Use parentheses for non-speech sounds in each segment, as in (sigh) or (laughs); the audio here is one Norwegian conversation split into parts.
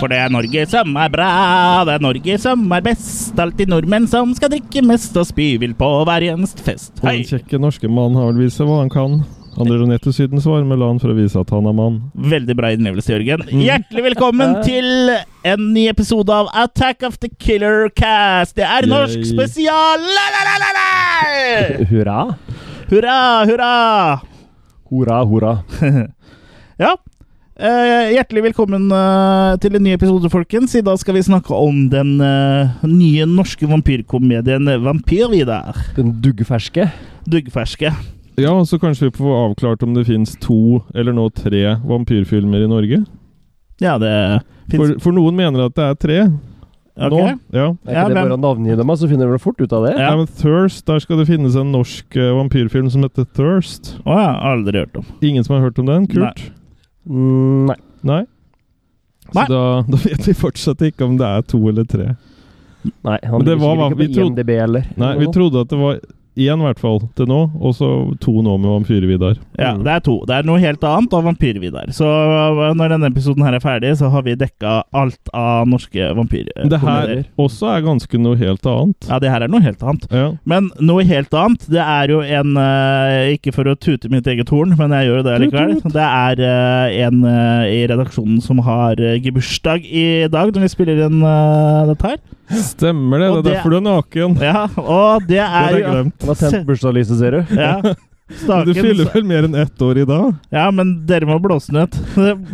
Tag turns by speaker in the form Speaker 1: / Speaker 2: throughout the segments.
Speaker 1: For det er Norge som er bra, det er Norge som er best. Alltid nordmenn som skal drikke mest og spyvill på hver eneste fest.
Speaker 2: Og
Speaker 1: Hei!
Speaker 2: den kjekke norske mannen har vel vist seg hva han kan. Han drar ned til Sydens varme land for å vise at han er mann.
Speaker 1: Veldig bra innlevelse, Jørgen. Hjertelig velkommen til en ny episode av Attack of the Killer Cast. Det er norsk
Speaker 2: Yay.
Speaker 1: spesial! La, la, la, la, la!
Speaker 3: Hurra.
Speaker 1: Eh, Hurra, hurra!
Speaker 3: Hurra, hurra.
Speaker 1: Ja. Eh, hjertelig velkommen eh, til en ny episode, folkens. I dag skal vi snakke om den eh, nye norske vampyrkomedien Vampyrvidar.
Speaker 3: Den duggferske.
Speaker 1: Duggferske.
Speaker 2: Ja, så kanskje vi får avklart om det fins to, eller nå tre, vampyrfilmer i Norge?
Speaker 1: Ja, det fins
Speaker 2: For, for noen mener at det er tre. Nå. Ja.
Speaker 3: Er ikke
Speaker 1: Ja,
Speaker 3: det
Speaker 1: men-
Speaker 3: bare å navngi dem, altså, så finner du vel fort ut av det?
Speaker 1: Ja.
Speaker 2: Nei, men Thirst, der skal det finnes en norsk eh, vampyrfilm som heter Thirst.
Speaker 1: Å ja, aldri hørt om.
Speaker 2: Ingen som har hørt om den? Kult?
Speaker 3: Mm, nei.
Speaker 2: Nei?
Speaker 1: Nei.
Speaker 2: Så da, (laughs) da vet vi fortsatt ikke om det er to eller tre.
Speaker 3: nei han
Speaker 2: Men det
Speaker 3: ligger
Speaker 2: var
Speaker 3: sikkert
Speaker 2: hva
Speaker 3: ikke
Speaker 2: vi
Speaker 3: på
Speaker 2: trodde-
Speaker 3: IMDb eller
Speaker 2: Nei, vi trodde at det var én i hvert fall til nå, og så to nå med Vampyr-Vidar.
Speaker 1: Ja,
Speaker 3: Mm.
Speaker 1: Det er to. Det er noe helt annet av Vampyr-Vidar. Så eh, når denne episoden her er ferdig, så har vi dekka alt av norske vampyrer.
Speaker 2: Det her også er ganske noe helt annet.
Speaker 1: Ja, det her er noe helt annet.
Speaker 2: Ja.
Speaker 1: Men noe helt annet, det er jo en eh, Ikke for å tute mitt eget horn, men jeg gjør jo det likevel. Det er eh, en eh, i redaksjonen som har eh, gebursdag i dag, når vi spiller inn eh, dette her.
Speaker 2: Stemmer det.
Speaker 1: Og
Speaker 2: Det
Speaker 1: det-
Speaker 2: er derfor du er naken.
Speaker 1: Ja, og det
Speaker 2: (laughs) Det
Speaker 1: er
Speaker 2: hadde jeg
Speaker 1: jo
Speaker 2: glemt.
Speaker 3: Han har tent bursdagslyset, ser du.
Speaker 2: (laughs)
Speaker 1: ja,
Speaker 2: Du
Speaker 1: Staken
Speaker 2: fyller vel mer enn ett år i dag?
Speaker 1: Ja, men dere må blåse (laughs) den ut.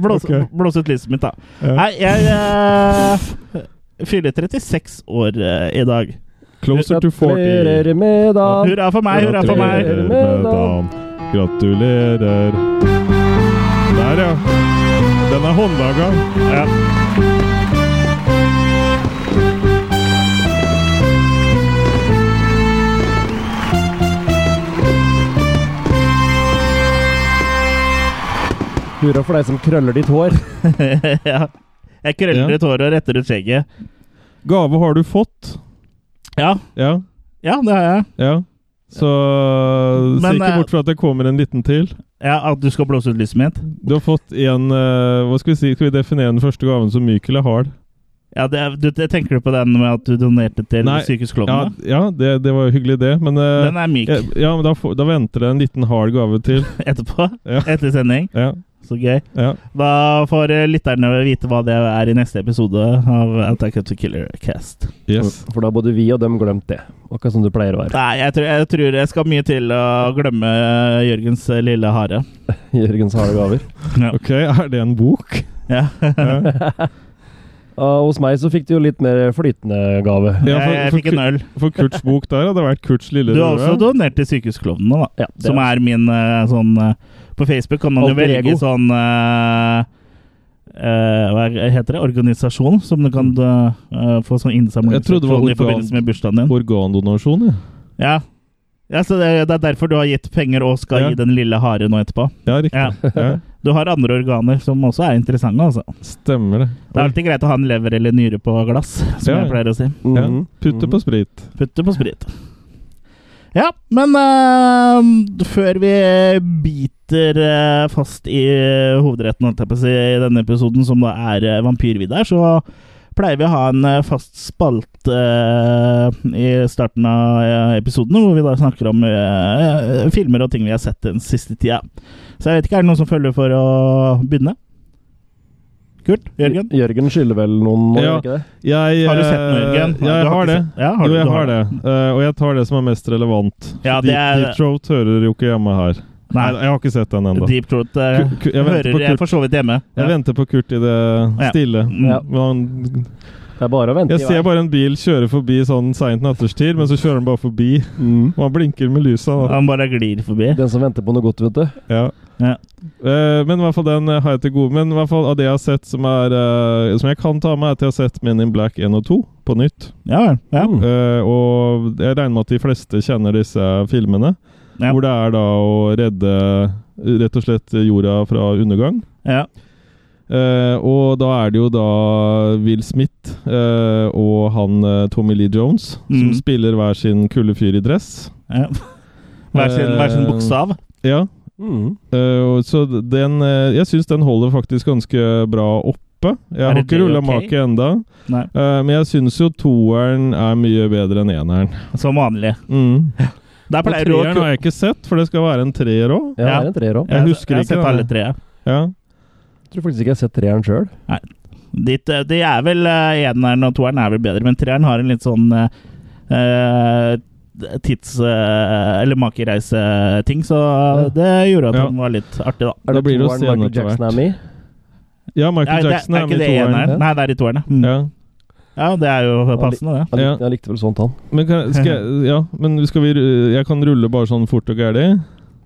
Speaker 1: Blås,
Speaker 2: Ok.
Speaker 1: blås ut lyset mitt, da.
Speaker 2: Ja.
Speaker 1: Nei, jeg eh, fyller 36 år eh, i dag.
Speaker 2: Closer to 40.
Speaker 3: Gratulerer med dagen.
Speaker 1: Hurra for meg, hurra for meg!
Speaker 2: Gratulerer med dagen. Gratulerer. Der, ja. Den er håndlaga.
Speaker 1: Ja.
Speaker 3: Hurra for deg som krøller ditt hår.
Speaker 1: (laughs) ja. Jeg krøller
Speaker 2: Ja.
Speaker 1: ut håret og retter ut skjegget.
Speaker 2: Gave har du fått.
Speaker 1: Ja,
Speaker 2: Ja.
Speaker 1: ja det har jeg.
Speaker 2: Ja. Så se
Speaker 1: Men,
Speaker 2: ikke
Speaker 1: eh,
Speaker 2: bort fra at det kommer en liten til.
Speaker 1: Ja, At du skal blåse ut lyset mitt?
Speaker 2: Du har fått en eh, Hva skal vi si? Skal vi definere den første gaven som myk eller hard?
Speaker 1: Ja, det, er- du, det Tenker du på den med at du donerte til
Speaker 2: Nei,
Speaker 1: Sykehus
Speaker 2: Ja,
Speaker 1: Klovna?
Speaker 2: ja det, det var jo hyggelig, det. Men, eh,
Speaker 1: Den er myk
Speaker 2: ja, ja, men da, får- da venter det en liten hard gave til.
Speaker 1: (laughs) etterpå.
Speaker 2: eh, Ja.
Speaker 1: Etter sending.
Speaker 2: Ja,
Speaker 1: Så gøy.
Speaker 2: ja.
Speaker 1: Da får eh, lytterne vite hva det er i neste episode av Attack of the Killer Cast.
Speaker 2: Yes.
Speaker 3: For da har både vi og dem glemt det. Akkurat som det pleier å være.
Speaker 1: Nei, jeg tror, jeg tror jeg skal mye til å glemme Jørgens eh, lille hare.
Speaker 3: (laughs) Jørgens harde gaver.
Speaker 2: Ok, er det en bok?
Speaker 1: Ja.
Speaker 2: Ja,
Speaker 1: (laughs)
Speaker 3: Ah, hos meg så fikk du jo litt mer flytende gave.
Speaker 2: Ja,
Speaker 1: jeg, jeg
Speaker 2: for,
Speaker 1: fikk en
Speaker 2: for,
Speaker 1: øl.
Speaker 2: Ku- for Kurts bok der hadde det vært Kurts lille
Speaker 1: Du har også
Speaker 2: røde.
Speaker 1: donert til Sykehusklovnene, da.
Speaker 3: Ja, det
Speaker 1: Som er min eh, sånn eh, På Facebook kan man jo
Speaker 3: Alter
Speaker 1: velge
Speaker 3: ego.
Speaker 1: sånn eh, eh, Hva er- heter det? Organisasjon som du kan eh, få sånn innsamling
Speaker 2: Mm. Jeg trodde det
Speaker 1: i
Speaker 2: var organ.
Speaker 1: forbindelse med bursdagen din.
Speaker 2: Organdonasjon, ja.
Speaker 1: Ja. ja, så det, det er derfor du har gitt penger og skal
Speaker 2: Ja.
Speaker 1: gi den lille hare nå etterpå.
Speaker 2: Ja,
Speaker 1: Ja.
Speaker 2: riktig. Ja.
Speaker 1: Du har andre organer som også er interessante, altså.
Speaker 2: Stemmer det.
Speaker 1: Det er alltid greit å ha en lever eller nyre på glass, som
Speaker 2: Ja.
Speaker 1: jeg pleier å si.
Speaker 2: Ja.
Speaker 3: Mhm.
Speaker 2: Putte på sprit.
Speaker 1: Putte på sprit. Ja, men eh, før vi biter eh, fast i hovedretten holdt jeg på å si, i denne episoden, som da er uh, Vampyr-Vidar, så pleier vi å ha en eh, fast spalt eh, i starten av eh, episodene, hvor vi da snakker om eh, filmer og ting vi har sett den siste tida. Så jeg vet ikke, er det noen som følger for å begynne? Kurt? Jørgen?
Speaker 3: Jørgen skylder vel noen nå,
Speaker 2: Ja.
Speaker 3: gjør ikke det?
Speaker 2: Jeg,
Speaker 1: Har du sett den,
Speaker 2: eh,
Speaker 1: Jørgen?
Speaker 2: Ja,
Speaker 1: Du
Speaker 2: jeg har
Speaker 1: ikke
Speaker 2: det.
Speaker 1: sett- Ja, har
Speaker 2: Jo,
Speaker 1: du,
Speaker 2: jeg
Speaker 1: du
Speaker 2: har det. Eh, og jeg tar det som er mest relevant.
Speaker 1: Ja, det er-
Speaker 2: Deep, Deep Throat hører jo ikke hjemme her. Nei,
Speaker 1: Nei.
Speaker 2: jeg har ikke sett den ennå.
Speaker 1: Deep Throat eh,
Speaker 2: Ku- ku- jeg venter på
Speaker 1: hører jeg
Speaker 2: Kurt.
Speaker 1: for så vidt hjemme.
Speaker 2: Jeg venter på Kurt i det
Speaker 1: Ja.
Speaker 2: stille.
Speaker 1: Ja.
Speaker 2: Men han,
Speaker 3: Det er bare å vente.
Speaker 2: jeg ser bare en bil kjøre forbi sånn seint natterstid, men så kjører han bare forbi.
Speaker 3: Mhm.
Speaker 2: Og han blinker med lysa. Da.
Speaker 1: Han bare glir forbi.
Speaker 3: Den som venter på noe godt, vet du.
Speaker 2: Ja.
Speaker 1: Ja.
Speaker 2: Eh, men i hvert fall den eh, har jeg til gode. Men i hvert fall av det jeg har sett som, er, eh, som jeg kan ta med, er at jeg har sett Men in Black 1 og 2 på nytt.
Speaker 1: Ja vel. Ja.
Speaker 3: Mm.
Speaker 2: Eh, og jeg regner med at de fleste kjenner disse filmene.
Speaker 1: Ja.
Speaker 2: Hvor det er da å redde eh, rett og slett jorda fra undergang.
Speaker 1: Ja.
Speaker 2: Eh, og da er det jo da Will Smith eh, og han eh, Tommy Lee Jones som
Speaker 1: Mm.
Speaker 2: spiller hver sin kulde fyr i dress.
Speaker 1: Ja. Hver, sin, hver sin bokstav.
Speaker 2: Ja,
Speaker 3: Mhm.
Speaker 2: eh, og så den eh, Jeg syns den holder faktisk ganske bra opp oppe. Jeg
Speaker 1: Er
Speaker 2: har
Speaker 1: det
Speaker 2: ikke rulla
Speaker 1: JOK?
Speaker 2: make enda,
Speaker 1: Nei,
Speaker 2: Eh, men jeg syns jo toeren er mye bedre enn eneren.
Speaker 1: som vanlig.
Speaker 2: Mm.
Speaker 1: Der
Speaker 2: Og
Speaker 1: pleier du å
Speaker 2: treeren har jeg ikke sett, for det skal være en treer òg.
Speaker 1: Ja.
Speaker 3: Ja, det er en treer òg.
Speaker 2: Jeg husker
Speaker 1: jeg har
Speaker 2: ikke
Speaker 1: sett
Speaker 2: det.
Speaker 1: alle tre. jeg.
Speaker 2: Ja.
Speaker 3: Tror faktisk ikke jeg har sett treeren sjøl.
Speaker 1: Ditt, eh, De er vel eh, eneren og toeren er vel bedre, men treeren har en litt sånn eh, eh, tids... eh, eller makereiseting, så
Speaker 3: Ja.
Speaker 1: det gjorde at
Speaker 2: Ja.
Speaker 1: den var litt artig, da.
Speaker 2: Da
Speaker 3: Er det
Speaker 2: blir det å
Speaker 3: toeren
Speaker 2: se
Speaker 3: Michael
Speaker 2: etter
Speaker 3: Jackson
Speaker 2: hvert.
Speaker 3: er med i?
Speaker 2: ja, Michael
Speaker 1: Nei, det,
Speaker 2: Jackson
Speaker 1: det er
Speaker 2: er,
Speaker 1: ikke det
Speaker 2: med i toeren.
Speaker 1: eneren. Nei, det er i toerne. Mm. Ja.
Speaker 2: Ja.
Speaker 1: det er jo passende, det.
Speaker 3: Han
Speaker 2: Ja.
Speaker 3: likte, jeg likte vel sånt, han.
Speaker 2: Men, kan, skal jeg, ja, men skal vi, ru- jeg kan rulle bare sånn fort og gæli?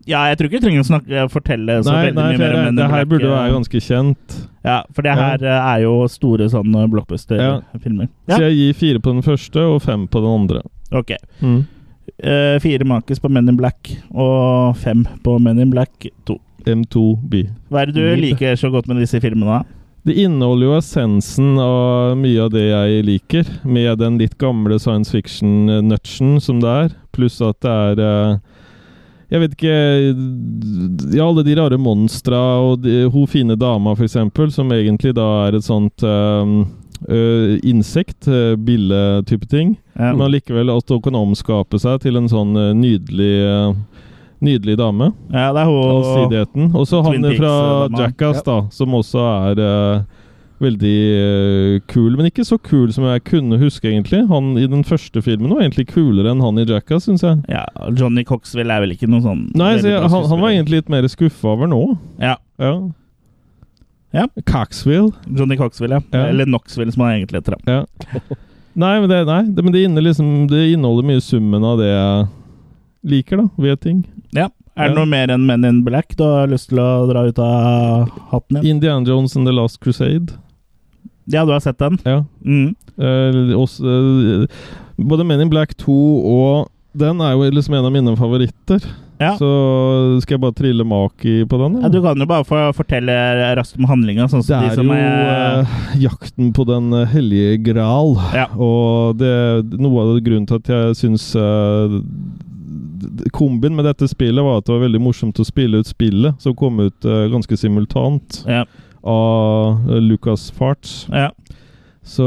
Speaker 1: Ja, jeg tror ikke vi trenger å snakke, eh, fortelle så
Speaker 2: Nei,
Speaker 1: veldig mye
Speaker 2: nei for
Speaker 1: mer om
Speaker 2: jeg,
Speaker 1: Men in
Speaker 2: det her
Speaker 1: Black,
Speaker 2: burde jo
Speaker 1: eh,
Speaker 2: være sånn. ganske kjent.
Speaker 1: Ja, for det her eh, er jo store sånne blockbuster-filmer.
Speaker 2: Så
Speaker 1: Ja.
Speaker 2: jeg gir fire på den første og fem på den andre.
Speaker 1: ok.
Speaker 2: Mm.
Speaker 1: Eh, fire makis på Men in Black og fem på Men in Black 2.
Speaker 2: M2B.
Speaker 1: Hva er det du liker så godt med disse filmene? da?
Speaker 2: Det inneholder jo essensen av mye av det jeg liker, med den litt gamle science fiction-nutchen som det er, pluss at det er eh, Jeg vet ikke Ja, alle de rare monstra og de, hun fine dama, for eksempel, som egentlig da er et sånt eh, ø, insekt, uh, bille-type ting.
Speaker 1: Ja.
Speaker 2: Men allikevel at hun kan omskape seg til en sånn eh, nydelig eh, Nydelig dame.
Speaker 1: ja, det er hun
Speaker 2: Allsidigheten. Og så han
Speaker 1: Twin eh,
Speaker 2: fra
Speaker 1: Peaks-dama.
Speaker 2: Jackass, da, som også er eh, veldig eh, kul. Men ikke så kul som jeg kunne huske, egentlig. Han i den første filmen var egentlig kulere enn han i Jackass, syns jeg.
Speaker 1: ja, Johnny Coxville er vel ikke noen sånn
Speaker 2: Nei,
Speaker 1: veldig
Speaker 2: så jeg,
Speaker 1: bra
Speaker 2: han, han var
Speaker 1: skuespiller.
Speaker 2: egentlig litt mer skuffa over nå.
Speaker 1: Ja.
Speaker 2: Ja.
Speaker 1: Ja.
Speaker 2: Coxville.
Speaker 1: Johnny Coxville, ja.
Speaker 2: Ja.
Speaker 1: Eller Knoxville, som han egentlig heter. da.
Speaker 2: Ja. Nei, men, det, nei det, men det, inne, liksom, det inneholder mye summen av det jeg liker, da, ved ting.
Speaker 1: Er det
Speaker 2: Ja.
Speaker 1: noe mer enn Men in Black du har lyst til å dra ut av hatten din?
Speaker 2: Indiana Jones and The Last Crusade.
Speaker 1: Ja, du har sett den?
Speaker 2: Ja.
Speaker 1: Mm.
Speaker 2: Eh, også, eh, både Men in Black 2 og den er jo liksom en av mine favoritter.
Speaker 1: Ja.
Speaker 2: Så skal jeg bare trille maki på den?
Speaker 1: Ja, du kan jo bare få fortelle raskt om handlinga, sånn
Speaker 2: det
Speaker 1: som de
Speaker 2: er
Speaker 1: som
Speaker 2: jo
Speaker 1: er
Speaker 2: eh, jakten på den eh, hellige gral.
Speaker 1: Ja.
Speaker 2: Og det noe av grunnen til at jeg syns eh, Kombin med dette spillet var at det var veldig morsomt å spille ut spillet, som kom ut eh, ganske simultant
Speaker 1: Ja.
Speaker 2: av eh, Lucas Farts.
Speaker 1: ja.
Speaker 2: Så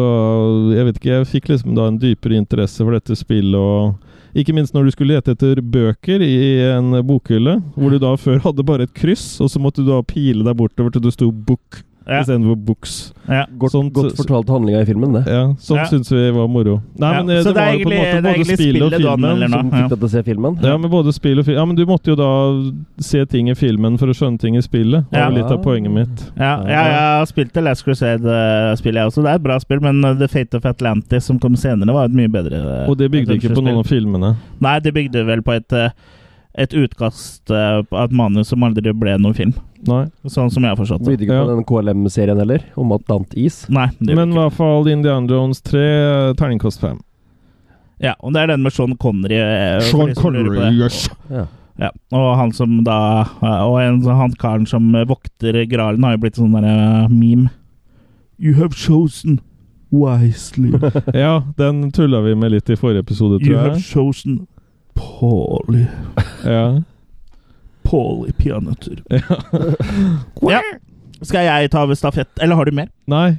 Speaker 2: jeg vet ikke, jeg fikk liksom da en dypere interesse for dette spillet og ikke minst når du skulle lete etter bøker i en bokhylle, hvor
Speaker 1: Mm.
Speaker 2: du da før hadde bare et kryss, og så måtte du da pile deg bortover til det sto 'book'
Speaker 1: Ja.
Speaker 2: istedenfor 'books'.
Speaker 1: Ja.
Speaker 3: Godt,
Speaker 2: Sånt-
Speaker 3: godt fortalt handlinga i filmen, det.
Speaker 2: Ja, Sånn
Speaker 1: Ja.
Speaker 2: syns vi var moro. Nei,
Speaker 1: Ja,
Speaker 2: men eh,
Speaker 1: så
Speaker 2: det,
Speaker 1: det er
Speaker 2: var jo på
Speaker 1: egentlig-
Speaker 2: en måte
Speaker 1: det er
Speaker 2: både
Speaker 1: egentlig
Speaker 2: spillet og
Speaker 1: spillet du anmelder nå.
Speaker 2: filmen. som-
Speaker 3: Som
Speaker 1: Ja.
Speaker 3: fikk deg til å se filmen.
Speaker 2: Ja, men både spill og film. Ja, men du måtte jo da se ting i filmen for å skjønne ting i spillet. Det var
Speaker 1: Ja.
Speaker 2: jo litt av poenget mitt.
Speaker 1: Ja, ja, jeg har spilt det Last Crusade-spillet, jeg også. Det er et bra spill, men eh, The Fate of Atlantis, som kom senere, var et mye bedre eh,
Speaker 2: Og det bygde ikke på noen av filmene.
Speaker 1: Nei, det bygde vel på et, eh, et utkast eh, av et manus som aldri ble noen film.
Speaker 2: Nei.
Speaker 1: Sånn som jeg har forstått det.
Speaker 3: Bygde ikke
Speaker 2: Ja.
Speaker 3: på den KLM-serien heller, om atlantis.
Speaker 1: Nei, det
Speaker 2: Men i hvert fall Indiana Jones 3, terningkast 5.
Speaker 1: ja, og det er den med Sean Connery. eh, for
Speaker 2: Sean
Speaker 1: de som lurer på det.
Speaker 2: Connery, yes!
Speaker 3: Ja.
Speaker 1: Ja, og han som da Og en, sånn- han karen som vokter gralen, har jo blitt sånn derre meme. You have chosen wisely.
Speaker 2: (laughs) Ja, den tulla vi med litt i forrige episode,
Speaker 1: You
Speaker 2: tror
Speaker 1: have
Speaker 2: jeg.
Speaker 1: chosen poorly.
Speaker 2: Ja.
Speaker 1: Poorly peanøtter.
Speaker 2: Ja.
Speaker 1: Ja. Skal jeg ta over stafett... Eller har du mer?
Speaker 2: Nei.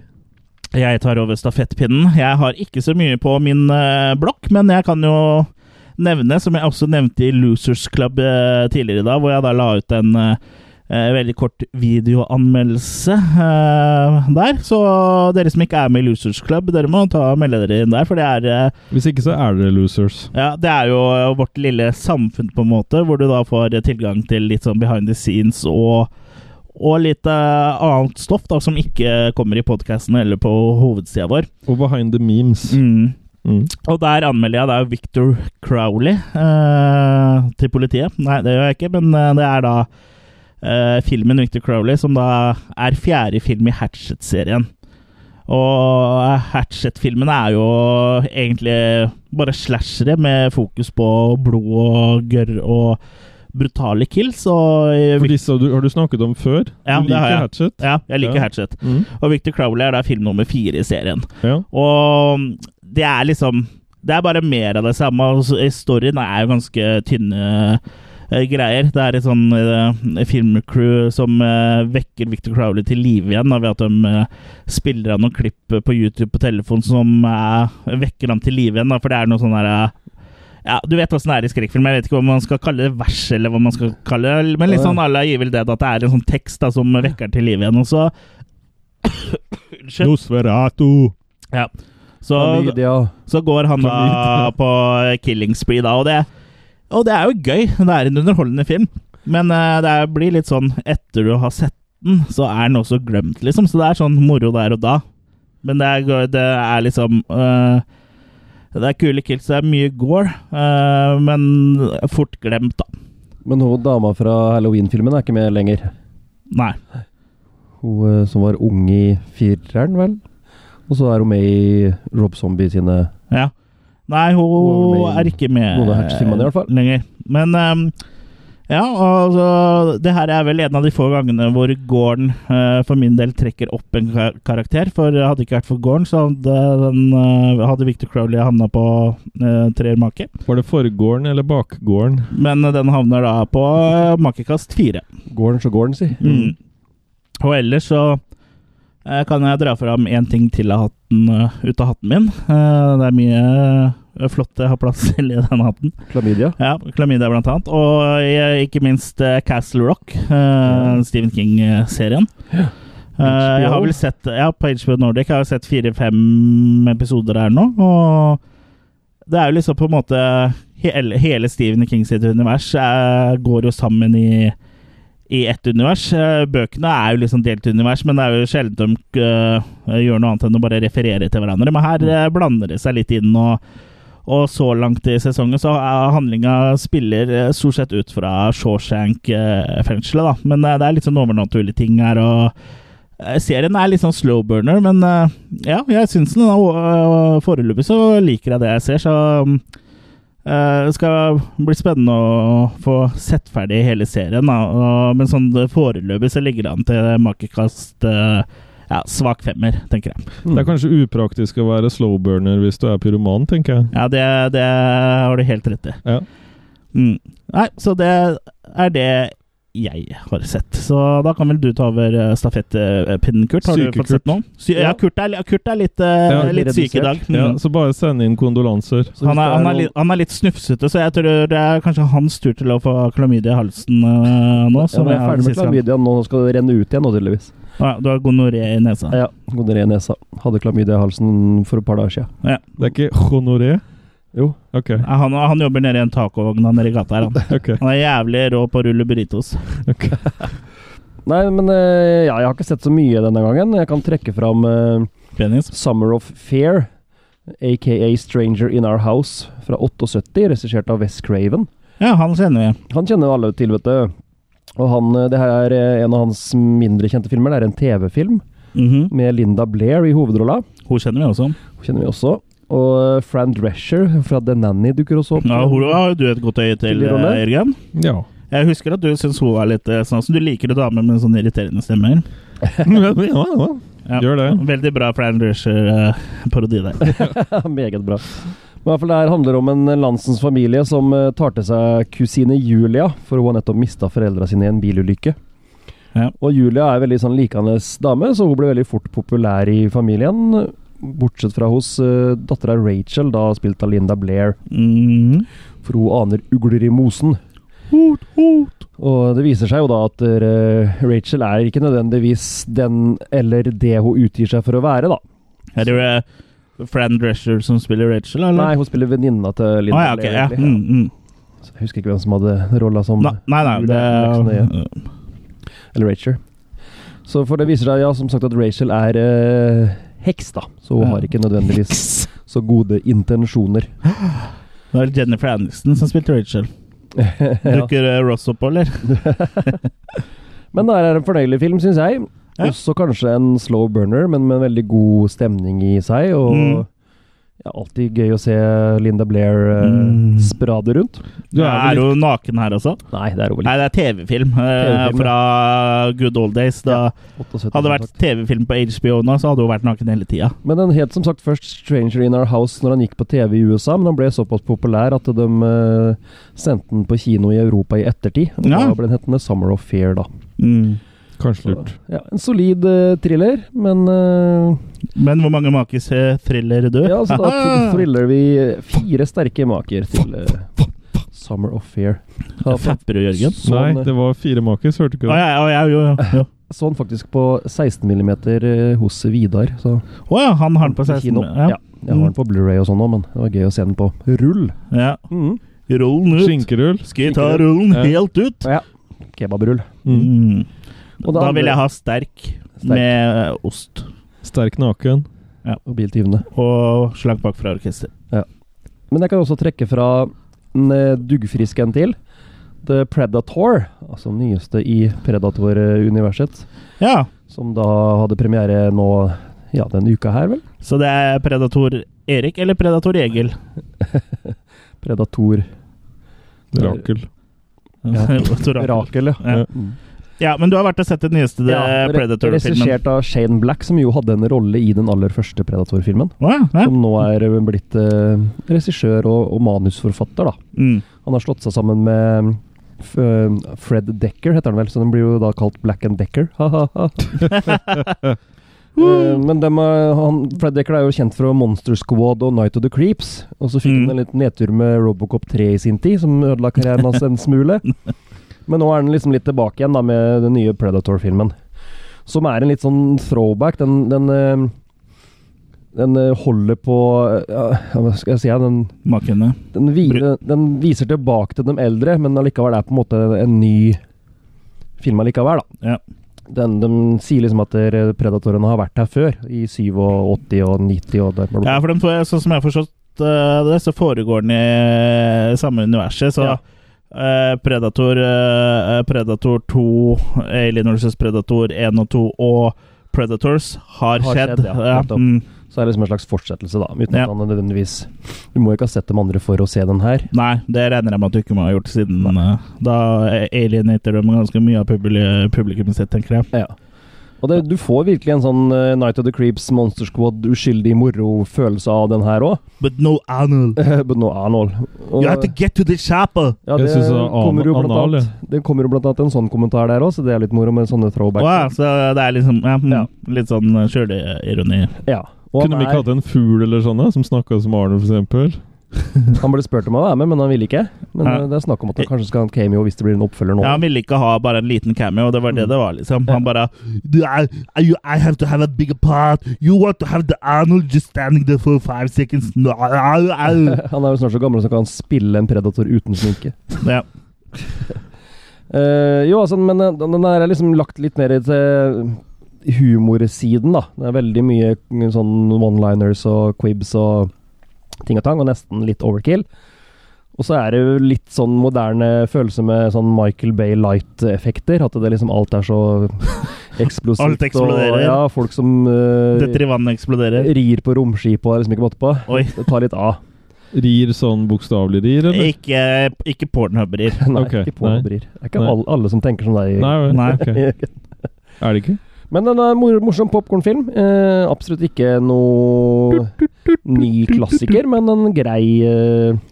Speaker 1: Jeg tar over stafettpinnen. Jeg har ikke så mye på min eh, blokk, men jeg kan jo nevne, som jeg også nevnte i Losers Club eh, tidligere i dag, hvor jeg da la ut en eh, eh, veldig kort videoanmeldelse eh, der. Så dere som ikke er med i Losers Club, dere må ta og melde dere inn der, for det er eh,
Speaker 2: Hvis ikke så er dere losers.
Speaker 1: ja, det er jo eh, vårt lille samfunn, på en måte, hvor du da får tilgang til litt sånn behind the scenes og, og litt eh, annet stoff da, som ikke kommer i podkasten eller på hovedsida vår.
Speaker 2: Og behind the memes.
Speaker 1: Mm.
Speaker 2: Mm.
Speaker 1: Og der anmelder jeg da Victor Crowley eh, til politiet. Nei, det gjør jeg ikke, men eh, det er da eh, filmen Victor Crowley, som da er fjerde film i Hatchet-serien. Og eh, Hatchet-filmene er jo egentlig bare slashere med fokus på blod og gørr og brutale kills. Og i
Speaker 2: For
Speaker 1: Vic-
Speaker 2: disse har du, har du snakket om før.
Speaker 1: Ja,
Speaker 2: du
Speaker 1: det har
Speaker 2: liker
Speaker 1: jeg.
Speaker 2: Hatchet.
Speaker 1: ja, jeg liker
Speaker 2: Ja.
Speaker 1: Hatchet.
Speaker 2: Mm.
Speaker 1: Og Victor Crowley er da film nummer fire i serien.
Speaker 2: Ja.
Speaker 1: Og det eh, er liksom Det er bare mer av det samme. og så- Storyen er jo ganske tynne eh, greier. Det er et sånn eh, filmcrew som eh, vekker Victor Crowley til live igjen da, ved at de eh, spiller av noen klipp på YouTube på telefonen som eh, vekker ham til live igjen. Da, for det er noe sånn her eh, ja, Du vet åssen det er i skrekkfilm. Jeg vet ikke om man skal kalle det vers, eller hva man skal kalle det. Men litt sånn à la Evil Dead, at det er en sånn tekst da, som vekker til live igjen. Og så Unnskyld.
Speaker 2: Nosferatu!
Speaker 1: Ja. Så,
Speaker 3: Klamydia.
Speaker 1: så går han da på killing spree, da. Og det, og det er jo gøy. Det er en underholdende film. Men eh, det er- blir litt sånn etter du har sett den, så er den også glemt, liksom. Så det er sånn moro der og da. Men det er, gøy- det er liksom eh, Det er kule kills, det er mye gore, eh, men fort glemt, da.
Speaker 3: Men hun dama fra Halloween-filmen er ikke med lenger.
Speaker 1: Nei.
Speaker 3: Hun eh, som var ung i fireren, vel? Og så er hun med i Rob Zombie sine
Speaker 1: Ja. Nei,
Speaker 3: Hun
Speaker 1: hun
Speaker 3: var
Speaker 1: er
Speaker 3: med i
Speaker 1: ikke med
Speaker 3: noen av Hatch-filmene i hvert fall.
Speaker 1: lenger. Men ehm, ja, altså Det her er vel en av de få gangene hvor gården eh, for min del trekker opp en kar- karakter. For hadde det ikke vært for gården, så hadde, den, eh, hadde Victor Crowley havna på uh, treer make.
Speaker 2: Var det forgården eller bakgården?
Speaker 1: Men eh, den havner da på eh, makekast fire.
Speaker 3: Gården så gården, si.
Speaker 1: Mm. Og ellers så eh, kan jeg dra fram én ting til av hatten, eh, ut av hatten min. Eh, det er mye eh, flott jeg har plass til i den hatten.
Speaker 3: Klamydia.
Speaker 1: Ja, Klamydia blant annet. Og eh, ikke minst eh, Castle Rock, eh, Stephen King-serien. Eh, jeg har vel sett ja, på HBO Nordic jeg har sett fire-fem episoder her nå. Og det er jo liksom på en måte Hele, hele Stephen King sitt univers eh, går jo sammen i i ett univers. Eh, Bøkene er jo liksom delt univers, men det er jo sjelden de eh, gjør noe annet enn å bare referere til hverandre. Men her eh, blander det seg litt inn, og, og så langt i sesongen så er handlinga spiller eh, stort sett ut fra Shawshank-fengselet, da. Men eh, det er litt sånn overnaturlige ting her, og eh, serien er litt sånn slow burner, men eh, ja, jeg syns den. Og og foreløpig så liker jeg det jeg ser, så mm, Eh, Det skal bli spennende å få sett ferdig hele serien, da. Og, men sånn det foreløpig så ligger det an til makekast eh, ja, svak femmer, tenker jeg.
Speaker 3: Mm.
Speaker 2: Det er kanskje upraktisk å være slowburner hvis du er pyroman, tenker jeg.
Speaker 1: Ja, det, det har du helt rett i.
Speaker 2: Ja.
Speaker 1: Mm. Nei, så det er det jeg har sett. Så da kan vel du ta over eh, stafettpinnen, Kurt. Har
Speaker 2: Syke
Speaker 1: du fått sett
Speaker 2: Kurt.
Speaker 1: noe? Sy ja,
Speaker 3: Ja.
Speaker 1: Kurt er, Kurt er litt, eh,
Speaker 2: Ja,
Speaker 1: litt syk i dag. Mm.
Speaker 2: Ja, så bare send inn kondolanser.
Speaker 3: Så hvis
Speaker 1: han,
Speaker 3: det
Speaker 1: er, han, er
Speaker 3: noen-
Speaker 1: litt, han er litt snufsete, så jeg tror det er kanskje hans tur til å få klamydia i halsen eh, nå.
Speaker 3: Ja,
Speaker 1: som jeg
Speaker 3: men jeg er
Speaker 1: hadde
Speaker 3: ferdig med
Speaker 1: sist gang.
Speaker 3: klamydia nå, nå skal det renne ut igjen nå, tydeligvis.
Speaker 1: Å ja, du har gonoré i nesa.
Speaker 3: Ja, gonoré i nesa. Hadde klamydia i halsen for et par dager siden.
Speaker 2: Det er ikke honoré?
Speaker 3: Jo.
Speaker 2: Ok.
Speaker 1: Ja, Han, han jobber nede i en tacovogn han nede i gata
Speaker 3: (laughs)
Speaker 1: her. Han.
Speaker 2: ok.
Speaker 1: han er jævlig rå på å rulle burritos.
Speaker 3: Nei, men eh, ja, jeg har ikke sett så mye denne gangen. Jeg kan trekke fram eh,
Speaker 1: Penis.
Speaker 3: Summer of Fear, aka Stranger in Our House, fra 78, regissert av Wes Craven.
Speaker 1: Ja, han kjenner vi.
Speaker 3: Han kjenner jo alle til, vet du. Og han, eh, det her er eh, en av hans mindre kjente filmer. Det er en TV-film
Speaker 1: Mhm.
Speaker 3: med Linda Blair i hovedrolla.
Speaker 1: Hun kjenner vi også.
Speaker 3: Hun kjenner vi også. Og eh, Fran Drescher fra The Nanny dukker også opp.
Speaker 1: Ja, hun har jo du et godt øye til,
Speaker 3: Til rolle.
Speaker 1: eh, Jørgen.
Speaker 2: Ja.
Speaker 1: (laughs) Jeg husker at du syns hun er litt eh, sånn som du liker å dame med sånne irriterende stemmer.
Speaker 2: ja, ja.
Speaker 1: Ja.
Speaker 2: Gjør det.
Speaker 1: Veldig bra Fran Drescher-parodi der.
Speaker 3: (laughs) Meget bra. Men i hvert fall Det her handler om en landsens familie som eh, tar til seg kusine Julia, for hun har nettopp mista foreldra sine i en bilulykke.
Speaker 1: Ja.
Speaker 3: Og Julia er veldig sånn likende dame, så hun ble veldig fort populær i familien. Bortsett fra hos uh, dattera Rachel, da spilt av Linda Blair,
Speaker 1: Mhm.
Speaker 3: for hun aner ugler i mosen.
Speaker 1: Hot, hot.
Speaker 3: Og det viser seg jo da at eh, Rachel er ikke nødvendigvis den eller det hun utgir seg for å være, da.
Speaker 1: Er det eh, Fran Drescher som spiller Rachel, eller?
Speaker 3: Nei, hun spiller venninna til Linda
Speaker 1: Å, ja, ok,
Speaker 3: Blair.
Speaker 1: ja.
Speaker 3: egentlig.
Speaker 1: Mm, mm.
Speaker 3: Så Jeg husker ikke hvem som hadde rolla som
Speaker 1: Nei, nei, nei, det
Speaker 3: Julia Eller Rachel. Så for det viser seg ja, som sagt at Rachel er eh, heks, da. Så hun
Speaker 1: Ja.
Speaker 3: har ikke nødvendigvis
Speaker 1: Eh, Heks.
Speaker 3: så gode
Speaker 1: (laughs)
Speaker 3: intensjoner.
Speaker 1: Det var Jennifer Aniston som spilte Rachel.
Speaker 3: ja.
Speaker 1: Dukker eh, Ross opp, eller?
Speaker 3: Men det her er en fornøyelig film, syns jeg.
Speaker 1: Ja.
Speaker 3: Også kanskje en slow burner, men med en veldig god stemning i seg. Og
Speaker 1: Mm.
Speaker 3: Ja, alltid gøy å se Linda Blair eh,
Speaker 1: Mm.
Speaker 3: sprade rundt.
Speaker 2: Du er
Speaker 1: er
Speaker 2: vel
Speaker 1: jo naken her også.
Speaker 3: Nei, det er over
Speaker 1: Nei, det er TV-film eh,
Speaker 3: TV-film,
Speaker 1: fra good old days. Da hadde det vært TV-film på HBO nå, så hadde hun vært naken hele tida.
Speaker 3: Men den het som sagt først Stranger in Our House når han gikk på TV i USA, men han ble såpass populær at de eh, sendte den på kino i Europa i ettertid. Og
Speaker 1: Ja.
Speaker 3: Da ble den hetende Summer of Fear, da.
Speaker 1: Mm.
Speaker 2: kanskje
Speaker 3: Så,
Speaker 2: lurt.
Speaker 3: ja, en solid eh, thriller, men eh,
Speaker 1: Men hvor mange makis eh, thriller Ah, du?
Speaker 3: Ja,
Speaker 1: (laughs)
Speaker 3: så da
Speaker 1: Haha!
Speaker 3: thriller vi fire sterke maker til eh, Summer of Fear. Ja, fa-
Speaker 1: Fapper du, Jørgen?
Speaker 2: Nei,
Speaker 3: Sånn,
Speaker 2: det var fire makis, hørte
Speaker 1: eh. Å
Speaker 2: ikke du?
Speaker 1: ja, å, ja, jo, jo, jo.
Speaker 3: sånn faktisk på 16 mm hos Vidar. Så
Speaker 1: Å ja, han har den på
Speaker 3: på
Speaker 1: 16.
Speaker 3: kino.
Speaker 1: Ja.
Speaker 3: Ja. Jeg har den på Blu-ray og sånn òg, men det var gøy å se den på rull.
Speaker 1: Ja.
Speaker 3: Mm.
Speaker 1: Rullen ut.
Speaker 2: Skinkerull.
Speaker 1: Skal vi ta rullen
Speaker 2: Ja.
Speaker 1: helt ut?
Speaker 3: Ja. Kebabrull.
Speaker 2: Mm.
Speaker 1: Mm.
Speaker 3: Og det
Speaker 1: Da
Speaker 3: andre-
Speaker 1: vil jeg ha sterk
Speaker 3: Sterk
Speaker 1: med eh, ost
Speaker 2: Sterk naken.
Speaker 3: og biltyvene.
Speaker 1: og slank bak fra orkester.
Speaker 3: Men jeg kan også trekke fra en eh, duggfrisk en til. The Predator, altså den nyeste i Predator-universet.
Speaker 1: Ja,
Speaker 3: Som da hadde premiere nå ja, denne uka her, vel?
Speaker 1: så det er Predator Erik eller Predator Egil?
Speaker 3: Predator
Speaker 2: Rakel.
Speaker 1: (laughs)
Speaker 3: Ja.
Speaker 1: Predator Rakel.
Speaker 3: Rakel, ja.
Speaker 1: Ja.
Speaker 3: Mm.
Speaker 1: ja, men du har vært og sett den nyeste eh,
Speaker 3: re-
Speaker 1: Predator-filmen?
Speaker 3: Regissert av Shane Black, som jo hadde en rolle i den aller første Predator-filmen.
Speaker 1: Å ja, ja.
Speaker 3: Som nå er eh, blitt eh, regissør og, og manusforfatter, da.
Speaker 1: Mm.
Speaker 3: Han har slått seg sammen med mm, f eh, Fred Decker, heter han vel, så den blir jo da kalt Black and Decker. Ha, ha, ha. Eh, Men dem, eh, han, Fred Decker er jo kjent fra Monster Squad og Night of the Creeps. Og så fikk
Speaker 1: Mm.
Speaker 3: han en liten nedtur med Robocop 3 i sin tid, som ødela karrieren hans en smule. Men nå er han liksom litt tilbake igjen da med den nye Predator-filmen. Som er en litt sånn throwback. Den, den, eh, den eh, holder på eh, ja, Hva skal jeg si? ja, Den,
Speaker 1: Makene.
Speaker 3: den, vi, den viser tilbake til de eldre, men allikevel er på en måte en ny film allikevel, da.
Speaker 1: Ja.
Speaker 3: Den, de sier liksom at eh, predatorene har vært her før, i 87 og 90 og det,
Speaker 1: Ja, for den får, sånn som jeg har forstått eh, det, så foregår den i eh, samme universet. Så
Speaker 3: Ja.
Speaker 1: eh, Predator, eh, Predator 2, Alien vs. Predator 1 og 2 og Predators har,
Speaker 3: Har
Speaker 1: skjedd.
Speaker 3: skjedd, ja, nettopp.
Speaker 1: mm.
Speaker 3: Så er det liksom en slags fortsettelse, da. Uten
Speaker 1: Ja.
Speaker 3: at han nødvendigvis Du må jo ikke ha sett de andre for å se den her.
Speaker 1: Nei, det regner jeg med at du ikke må ha gjort siden eh, da Alien etter dem ganske mye av publi- publikummet sitt, tenker jeg.
Speaker 3: Ja. Og det, du får virkelig en sånn eh, Night of the Creeps, Monster Squad, uskyldig moro-følelse av den her òg.
Speaker 1: But no anal.
Speaker 3: (laughs) But no anal. Og-
Speaker 1: You have to get to the chapel!
Speaker 3: Ja,
Speaker 2: Jeg
Speaker 3: det,
Speaker 2: synes det var an-
Speaker 3: kommer jo blant
Speaker 2: anal,
Speaker 3: annet, det kommer jo blant annet en sånn kommentar der òg, så det er litt moro med sånne
Speaker 1: Å
Speaker 3: throwbacks.
Speaker 1: ja, så det er liksom ja, mm,
Speaker 3: Ja.
Speaker 1: Litt sånn eh, sjølironi.
Speaker 3: Ja. Og
Speaker 2: Kunne vi
Speaker 3: han,
Speaker 2: ikke
Speaker 3: er,
Speaker 2: hatt en fugl eller sånn da, som snakka som Arne, for eksempel?
Speaker 3: han ble spurt om å være med, men han ville ikke. Men
Speaker 1: Ja.
Speaker 3: eh, det er snakk om at han kanskje skal ha en cameo hvis det blir en oppfølger nå.
Speaker 1: Ja, han ville ikke ha bare en liten cameo, det var det det var, liksom. Han
Speaker 3: Ja.
Speaker 1: bare "Do I, I, I have to have a bigger part. You want to have the Arnold just standing there for five seconds. No, au, au."
Speaker 3: (laughs) Han er jo snart så gammel som kan spille en predator uten sminke.
Speaker 1: (laughs) Ja.
Speaker 3: (laughs) Eh, jo, altså, men eh, den den her er liksom lagt litt mer til eh, humorsiden, da. Det er veldig mye mm, sånn one-liners og quibs og ting og tang, og nesten litt overkill. Og så er det jo litt sånn moderne følelse med sånn Michael Bay Light-effekter. At det liksom alt er så (laughs) eksplosivt.
Speaker 1: Alt eksploderer.
Speaker 3: Og, ja, folk som
Speaker 1: (laughs)
Speaker 3: eh,
Speaker 1: Dette i vannet eksploderer.
Speaker 3: rir på romskip og er liksom ikke måte på.
Speaker 1: Oi.
Speaker 3: Det tar litt av.
Speaker 2: Rir sånn bokstavelig rir, eller?
Speaker 1: Ikke, ikke pornhubberer.
Speaker 3: Nei,
Speaker 2: Ok,
Speaker 3: ikke på
Speaker 2: nei.
Speaker 3: brir. Det er ikke
Speaker 2: Nei.
Speaker 3: alle, alle som tenker som deg.
Speaker 2: Nei, vel,
Speaker 1: Nei.
Speaker 2: ok. Er det ikke?
Speaker 3: Men den er mor morsom popkornfilm. Eh, absolutt ikke noe ny klassiker, men en grei eh,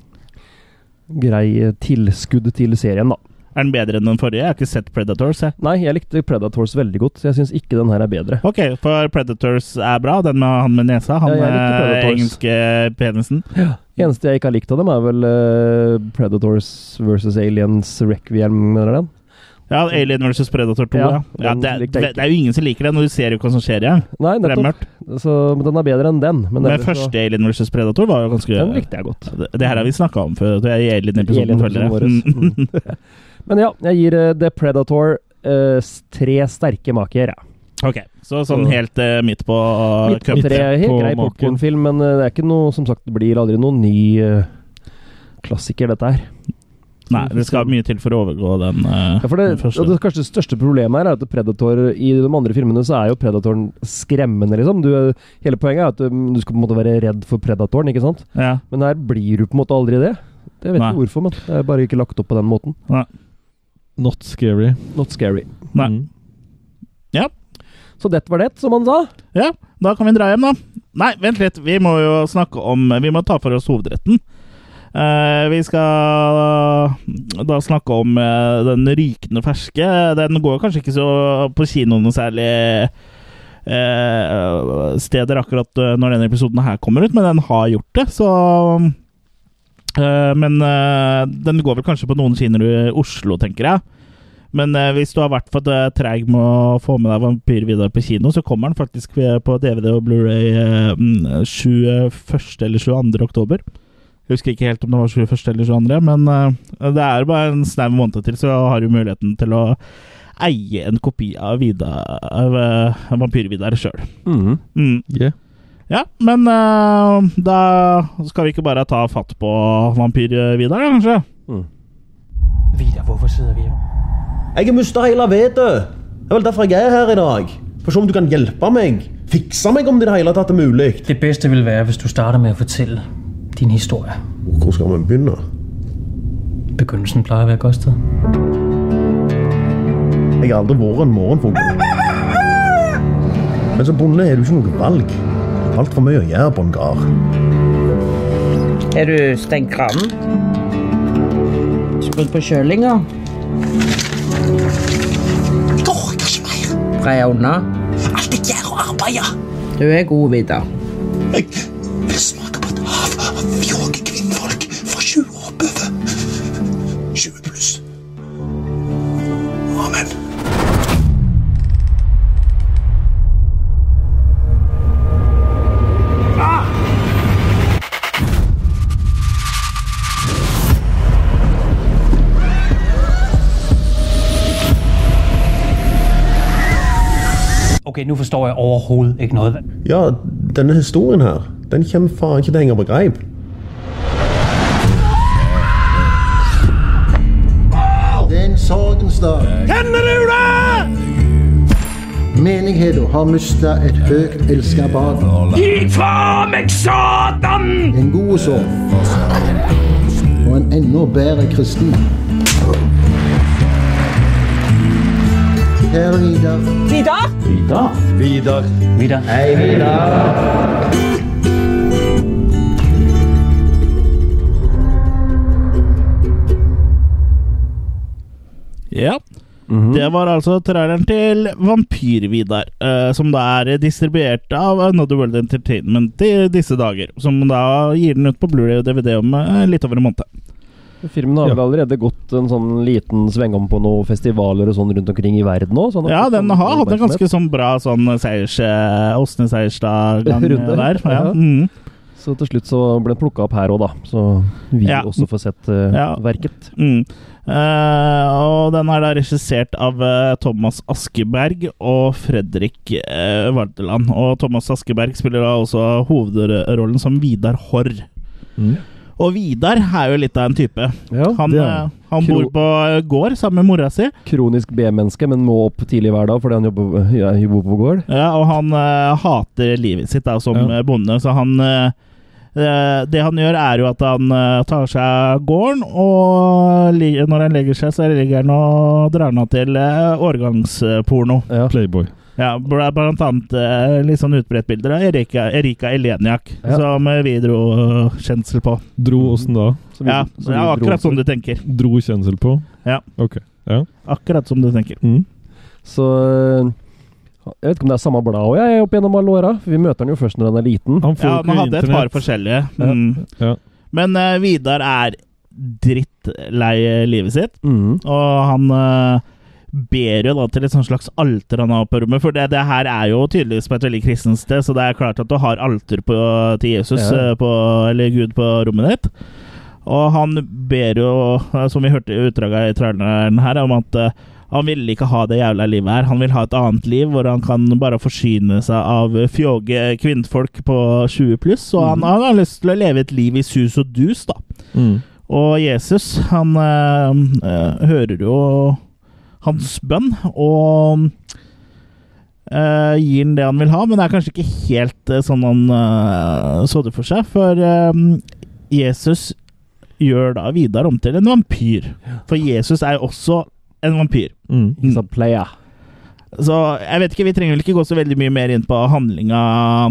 Speaker 3: Grei eh, tilskudd til serien, da.
Speaker 1: Er den bedre enn den forrige? Jeg har ikke sett Predators, jeg.
Speaker 3: Nei, jeg likte Predators veldig godt, så jeg syns ikke den her er bedre.
Speaker 1: Ok, for Predators er bra. Den med han med nesa. Han
Speaker 3: Ja, jeg likte
Speaker 1: eh,
Speaker 3: Predators.
Speaker 1: engelske penisen.
Speaker 3: Eneste jeg ikke har likt av dem, er vel eh, Predators versus Aliens Requiem, mener jeg den.
Speaker 1: Ja, Alien versus Predator 2, ja.
Speaker 3: Ja,
Speaker 1: ja
Speaker 3: den
Speaker 1: det,
Speaker 3: likte jeg
Speaker 1: det,
Speaker 3: ikke.
Speaker 1: det er jo ingen som liker det, når du ser jo hva som skjer, ja.
Speaker 3: Nei,
Speaker 1: Det er
Speaker 3: nettopp.
Speaker 1: mørkt.
Speaker 3: Så, men den er bedre enn den. Men,
Speaker 1: Men
Speaker 3: ellers så-
Speaker 1: første Alien versus Predator var jo ganske
Speaker 3: Den likte jeg godt.
Speaker 1: Det det her har vi snakka om før. Det er i Alien-episoden, føler jeg.
Speaker 3: Alien-episoden
Speaker 1: Mm.
Speaker 3: vår. Men (laughs) ja, jeg gir eh, The Predator eh, s- tre sterke maker. Ja.
Speaker 1: Ok, Så sånn
Speaker 3: Så-
Speaker 1: helt eh, midt på uh,
Speaker 3: Midt på tre,
Speaker 2: på
Speaker 3: helt grei
Speaker 2: maken.
Speaker 3: popkornfilm, men eh, det er ikke noe, som sagt, det blir aldri noen ny eh, klassiker, dette her.
Speaker 1: Nei, det skal mye til for å overgå den eh,
Speaker 3: Ja, for det,
Speaker 1: den første.
Speaker 3: og det kanskje det største problemet her er at Predator i de andre filmene så er jo Predatoren skremmende, liksom. Du, hele poenget er at um, du skal på en måte være redd for Predatoren, ikke sant?
Speaker 1: Ja.
Speaker 3: Men her blir du på en måte aldri det. Jeg vet
Speaker 1: Nei.
Speaker 3: ikke hvorfor, men det er bare ikke lagt opp på den måten.
Speaker 2: Not scary.
Speaker 3: Not scary.
Speaker 1: Nei.
Speaker 2: Mm.
Speaker 3: Så det var det, som han sa.
Speaker 1: ja, da kan vi dra hjem, da. Nei, vent litt. Vi må jo snakke om Vi må ta for oss hovedretten. Eh, vi skal da, da snakke om eh, den rykende ferske. Den går kanskje ikke så på kino noe særlig eh, steder akkurat eh, når denne episoden her kommer ut, men den har gjort det, så eh, Men eh, den går vel kanskje på noen kinoer i Oslo, tenker jeg. Men eh, hvis du har vært for eh, treg med å få med deg Vampyr Vidar på kino, så kommer den faktisk eh, på DVD og Blu-ray eh, mm, 21. eller 22. oktober. Jeg husker ikke helt om det var 21. eller 22., men eh, det er bare en snau måned til, så har du muligheten til å eie en kopi av, Vidar, av eh, Vampyr Vidar sjøl. Mm.
Speaker 2: Yeah.
Speaker 1: Ja, men eh, da skal vi ikke bare ta fatt på Vampyr eh, Vidar, da, kanskje?
Speaker 4: Vidar, hvorfor sidder vi her?
Speaker 5: Jeg er Mustaheila Vedø. Det er vel derfor jeg er her i dag. For å se om du kan hjelpe meg. Fikse meg om det i det hele tatt er mulig.
Speaker 4: Det bedste vil være, hvis du starter med at fortælle din historie.
Speaker 5: Hvor skal man begynne?
Speaker 4: Begyndelsen plejer at være et godt sted.
Speaker 5: Jeg har aldri vært en morgenfugl. Men som bonde er du ikke noe valg. Altfor mye å gjøre på en gard.
Speaker 6: Er du stengt kranen? Skrudd på kjølinga?
Speaker 7: orker ikke mer.
Speaker 6: Dreia unna?
Speaker 7: Alt jeg gjør og arbeider.
Speaker 6: Du er god, Vidar.
Speaker 7: Jeg vil smake på et hav av fjåge kvinnfolk fra 20 år oppover. 20 pluss. Amen.
Speaker 4: Okay, nu forstår jeg overhovedet ikke noget.
Speaker 5: Ja, denne historien her, den kommer faen ikke til å henge på greip.
Speaker 8: Det er en sorgens dag. Kjenner du det?! Menigheten har mista et høyt elska barn. Gi fra meg Satan! En god sorg. Og en enda bedre kristen. Kjære Vidar.
Speaker 5: Vidar.
Speaker 4: Vidar.
Speaker 1: Ja. Det var altså traileren til Vampyr-Vidar, eh, som da er distribuert av Another World Entertainment i disse dager. Som da gir den ut på Blu-ray og DVD om eh, litt over en måned.
Speaker 3: Filmen har vel allerede gått en sånn liten svengom på noen festivaler og sånn rundt omkring i verden òg?
Speaker 1: Ja, den har hatt en ganske sånn bra sånn seiers... eh, Åsne Seierstad-gang
Speaker 3: Runde.
Speaker 1: der. Ja.
Speaker 3: Ja.
Speaker 1: Mm.
Speaker 3: Så til slutt så ble den plukka opp her òg, da. Så vi
Speaker 1: Ja.
Speaker 3: også får sett eh,
Speaker 1: Ja.
Speaker 3: verket.
Speaker 1: Mm. Eh, og den er da regissert av eh, Thomas Askeberg og Fredrik eh, Vardeland. Og Thomas Askeberg spiller da også hovedrollen som Vidar Horr.
Speaker 2: Mm.
Speaker 1: Og Vidar er jo litt av en type.
Speaker 3: Ja,
Speaker 1: Han,
Speaker 2: det er
Speaker 1: eh,
Speaker 2: han.
Speaker 1: han bor
Speaker 3: Kro-
Speaker 1: på eh, gård sammen med mora si,
Speaker 3: Kronisk B-menneske, men må opp tidlig hver dag fordi han jobber, ja, jobber på gård.
Speaker 1: ja, og han eh, hater livet sitt da, som
Speaker 2: Ja.
Speaker 1: eh, bonde, så han eh, eh, det han gjør, er jo at han eh, tar seg av gården, og li- når han legger seg, så ligger han og drar han av til eh, årgangsporno.
Speaker 3: Ja.
Speaker 2: Playboy.
Speaker 1: Ja, bl- blant annet eh, litt sånn utbredt bilder av Erika, Erika Eleniak,
Speaker 3: Ja.
Speaker 1: som eh, vi dro eh, kjensel på.
Speaker 2: Dro
Speaker 1: Mm.
Speaker 2: åssen da?
Speaker 3: Som vi-
Speaker 1: Ja,
Speaker 3: som vi
Speaker 1: ja,
Speaker 3: dro
Speaker 1: akkurat
Speaker 3: for.
Speaker 1: som du tenker.
Speaker 2: Dro kjensel på?
Speaker 1: Ja.
Speaker 2: Ok. Ja.
Speaker 1: Akkurat som du tenker.
Speaker 2: Mm.
Speaker 3: Så øh, jeg vet ikke om det er samme blad òg, jeg, opp gjennom alle åra. Vi møter han jo først når han er liten.
Speaker 2: Han får
Speaker 1: Ja, man
Speaker 2: jo ikke
Speaker 1: hadde et par
Speaker 2: internett.
Speaker 1: forskjellige. Mm.
Speaker 2: Ja.
Speaker 1: Men eh, Vidar er drittlei eh, livet sitt,
Speaker 3: Mm.
Speaker 1: og han eh, ber jo da til et sånt slags alter han har på rommet, for det, det her er jo tydeligvis på et veldig kristent sted, så det er klart at du har alter på, til Jesus,
Speaker 3: Ja.
Speaker 1: eh, på, eller Gud, på rommet ditt. Og han ber jo, eh, som vi hørte i utdraget i traileren her, om at eh, han vil ikke ha det jævla livet her. Han vil ha et annet liv hvor han kan bare forsyne seg av fjoge
Speaker 3: Mm.
Speaker 1: kvinnfolk på 20 pluss. Og han, han har lyst til å leve et liv i sus og dus, da.
Speaker 2: Mm.
Speaker 1: Og Jesus, han eh, eh, hører jo hans bønn og eh, gir han det han vil ha, men det er kanskje ikke helt eh, sånn han eh, så det for seg. For eh, Jesus gjør da Vidar om til en vampyr. For Jesus er jo også en vampyr.
Speaker 2: Mm.
Speaker 3: He's a player.
Speaker 1: Så jeg vet ikke, vi trenger vel ikke gå så veldig mye mer inn på handlinga.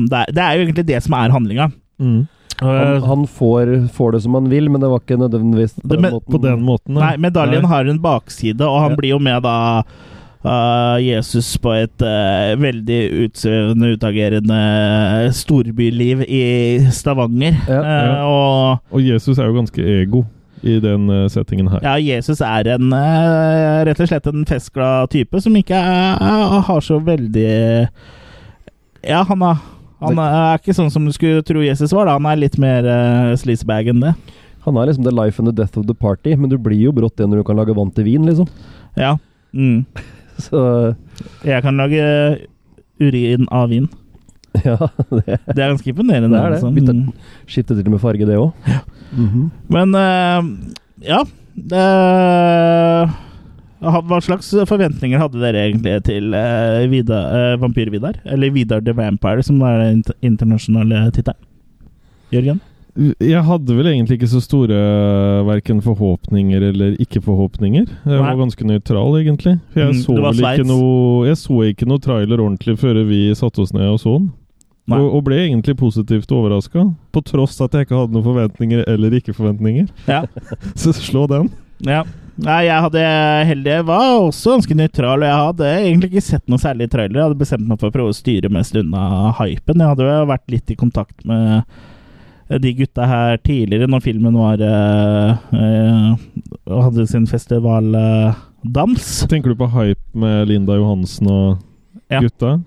Speaker 1: Det er, det er jo egentlig det som er handlinga.
Speaker 2: Mm.
Speaker 3: Han, han får, får det som han vil, men det var ikke nødvendigvis på
Speaker 1: Eh. Det-
Speaker 3: den
Speaker 1: men-
Speaker 3: måten.
Speaker 2: På den måten,
Speaker 1: Nei, medaljen
Speaker 2: Nei.
Speaker 1: har en bakside, og han
Speaker 2: Ja.
Speaker 1: blir jo med da eh, Jesus på et eh, veldig utsøvende, utagerende eh, storbyliv i Stavanger.
Speaker 3: Ja,
Speaker 1: Eh,
Speaker 2: ja.
Speaker 1: og
Speaker 2: Og Jesus er jo ganske ego i den eh, settingen her.
Speaker 1: Ja, Jesus er en eh, rett og slett en festglad type som ikke er, er, har så veldig Ja, han er, han er ikke sånn som du skulle tro Jesus var. da Han er litt mer uh, sleazebag enn det.
Speaker 3: Han er liksom the life and the death of the party, men du blir jo brått det når du kan lage vann til vin, liksom. (laughs)
Speaker 1: Ja. Mm.
Speaker 3: Så
Speaker 1: Jeg kan lage eh, urin av vin.
Speaker 3: ja, (laughs) det
Speaker 1: Det er ganske imponerende.
Speaker 3: Det er det.
Speaker 1: altså.
Speaker 3: Bytte-
Speaker 1: Mm.
Speaker 3: skifter til og med farge, det òg.
Speaker 1: Men eh, ja det, ha- Hva slags forventninger hadde dere egentlig til eh, Vida, eh, Vampyr-Vidar? Eller Vidar the Vampire, som er den inter- internasjonale tittelen. Jørgen?
Speaker 2: Jeg hadde vel egentlig ikke så store verken forhåpninger eller ikke-forhåpninger. Jeg var
Speaker 1: Nei.
Speaker 2: ganske nøytral, egentlig. For Jeg,
Speaker 1: Mm,
Speaker 2: så
Speaker 1: det var
Speaker 2: vel ikke
Speaker 1: Sveits.
Speaker 2: noe, jeg så ikke noe trailer ordentlig før vi satte oss ned og så den.
Speaker 1: Nei.
Speaker 2: Og, og ble egentlig positivt overraska, på tross at jeg ikke hadde noen forventninger (laughs) eller ikke-forventninger.
Speaker 1: Ja.
Speaker 2: Så slå den.
Speaker 1: ja. Nei, jeg hadde heldig Jeg var også ganske nøytral, og jeg hadde egentlig ikke sett noe særlig trailer. Jeg hadde bestemt meg for å prøve å styre mest unna hypen. Jeg hadde jo vært litt i kontakt med de gutta her tidligere, når filmen var eh, eh, og Hadde sin festivaldans.
Speaker 2: Tenker du på hype med Linda Johansen og
Speaker 1: Ja. Eh.
Speaker 2: gutta?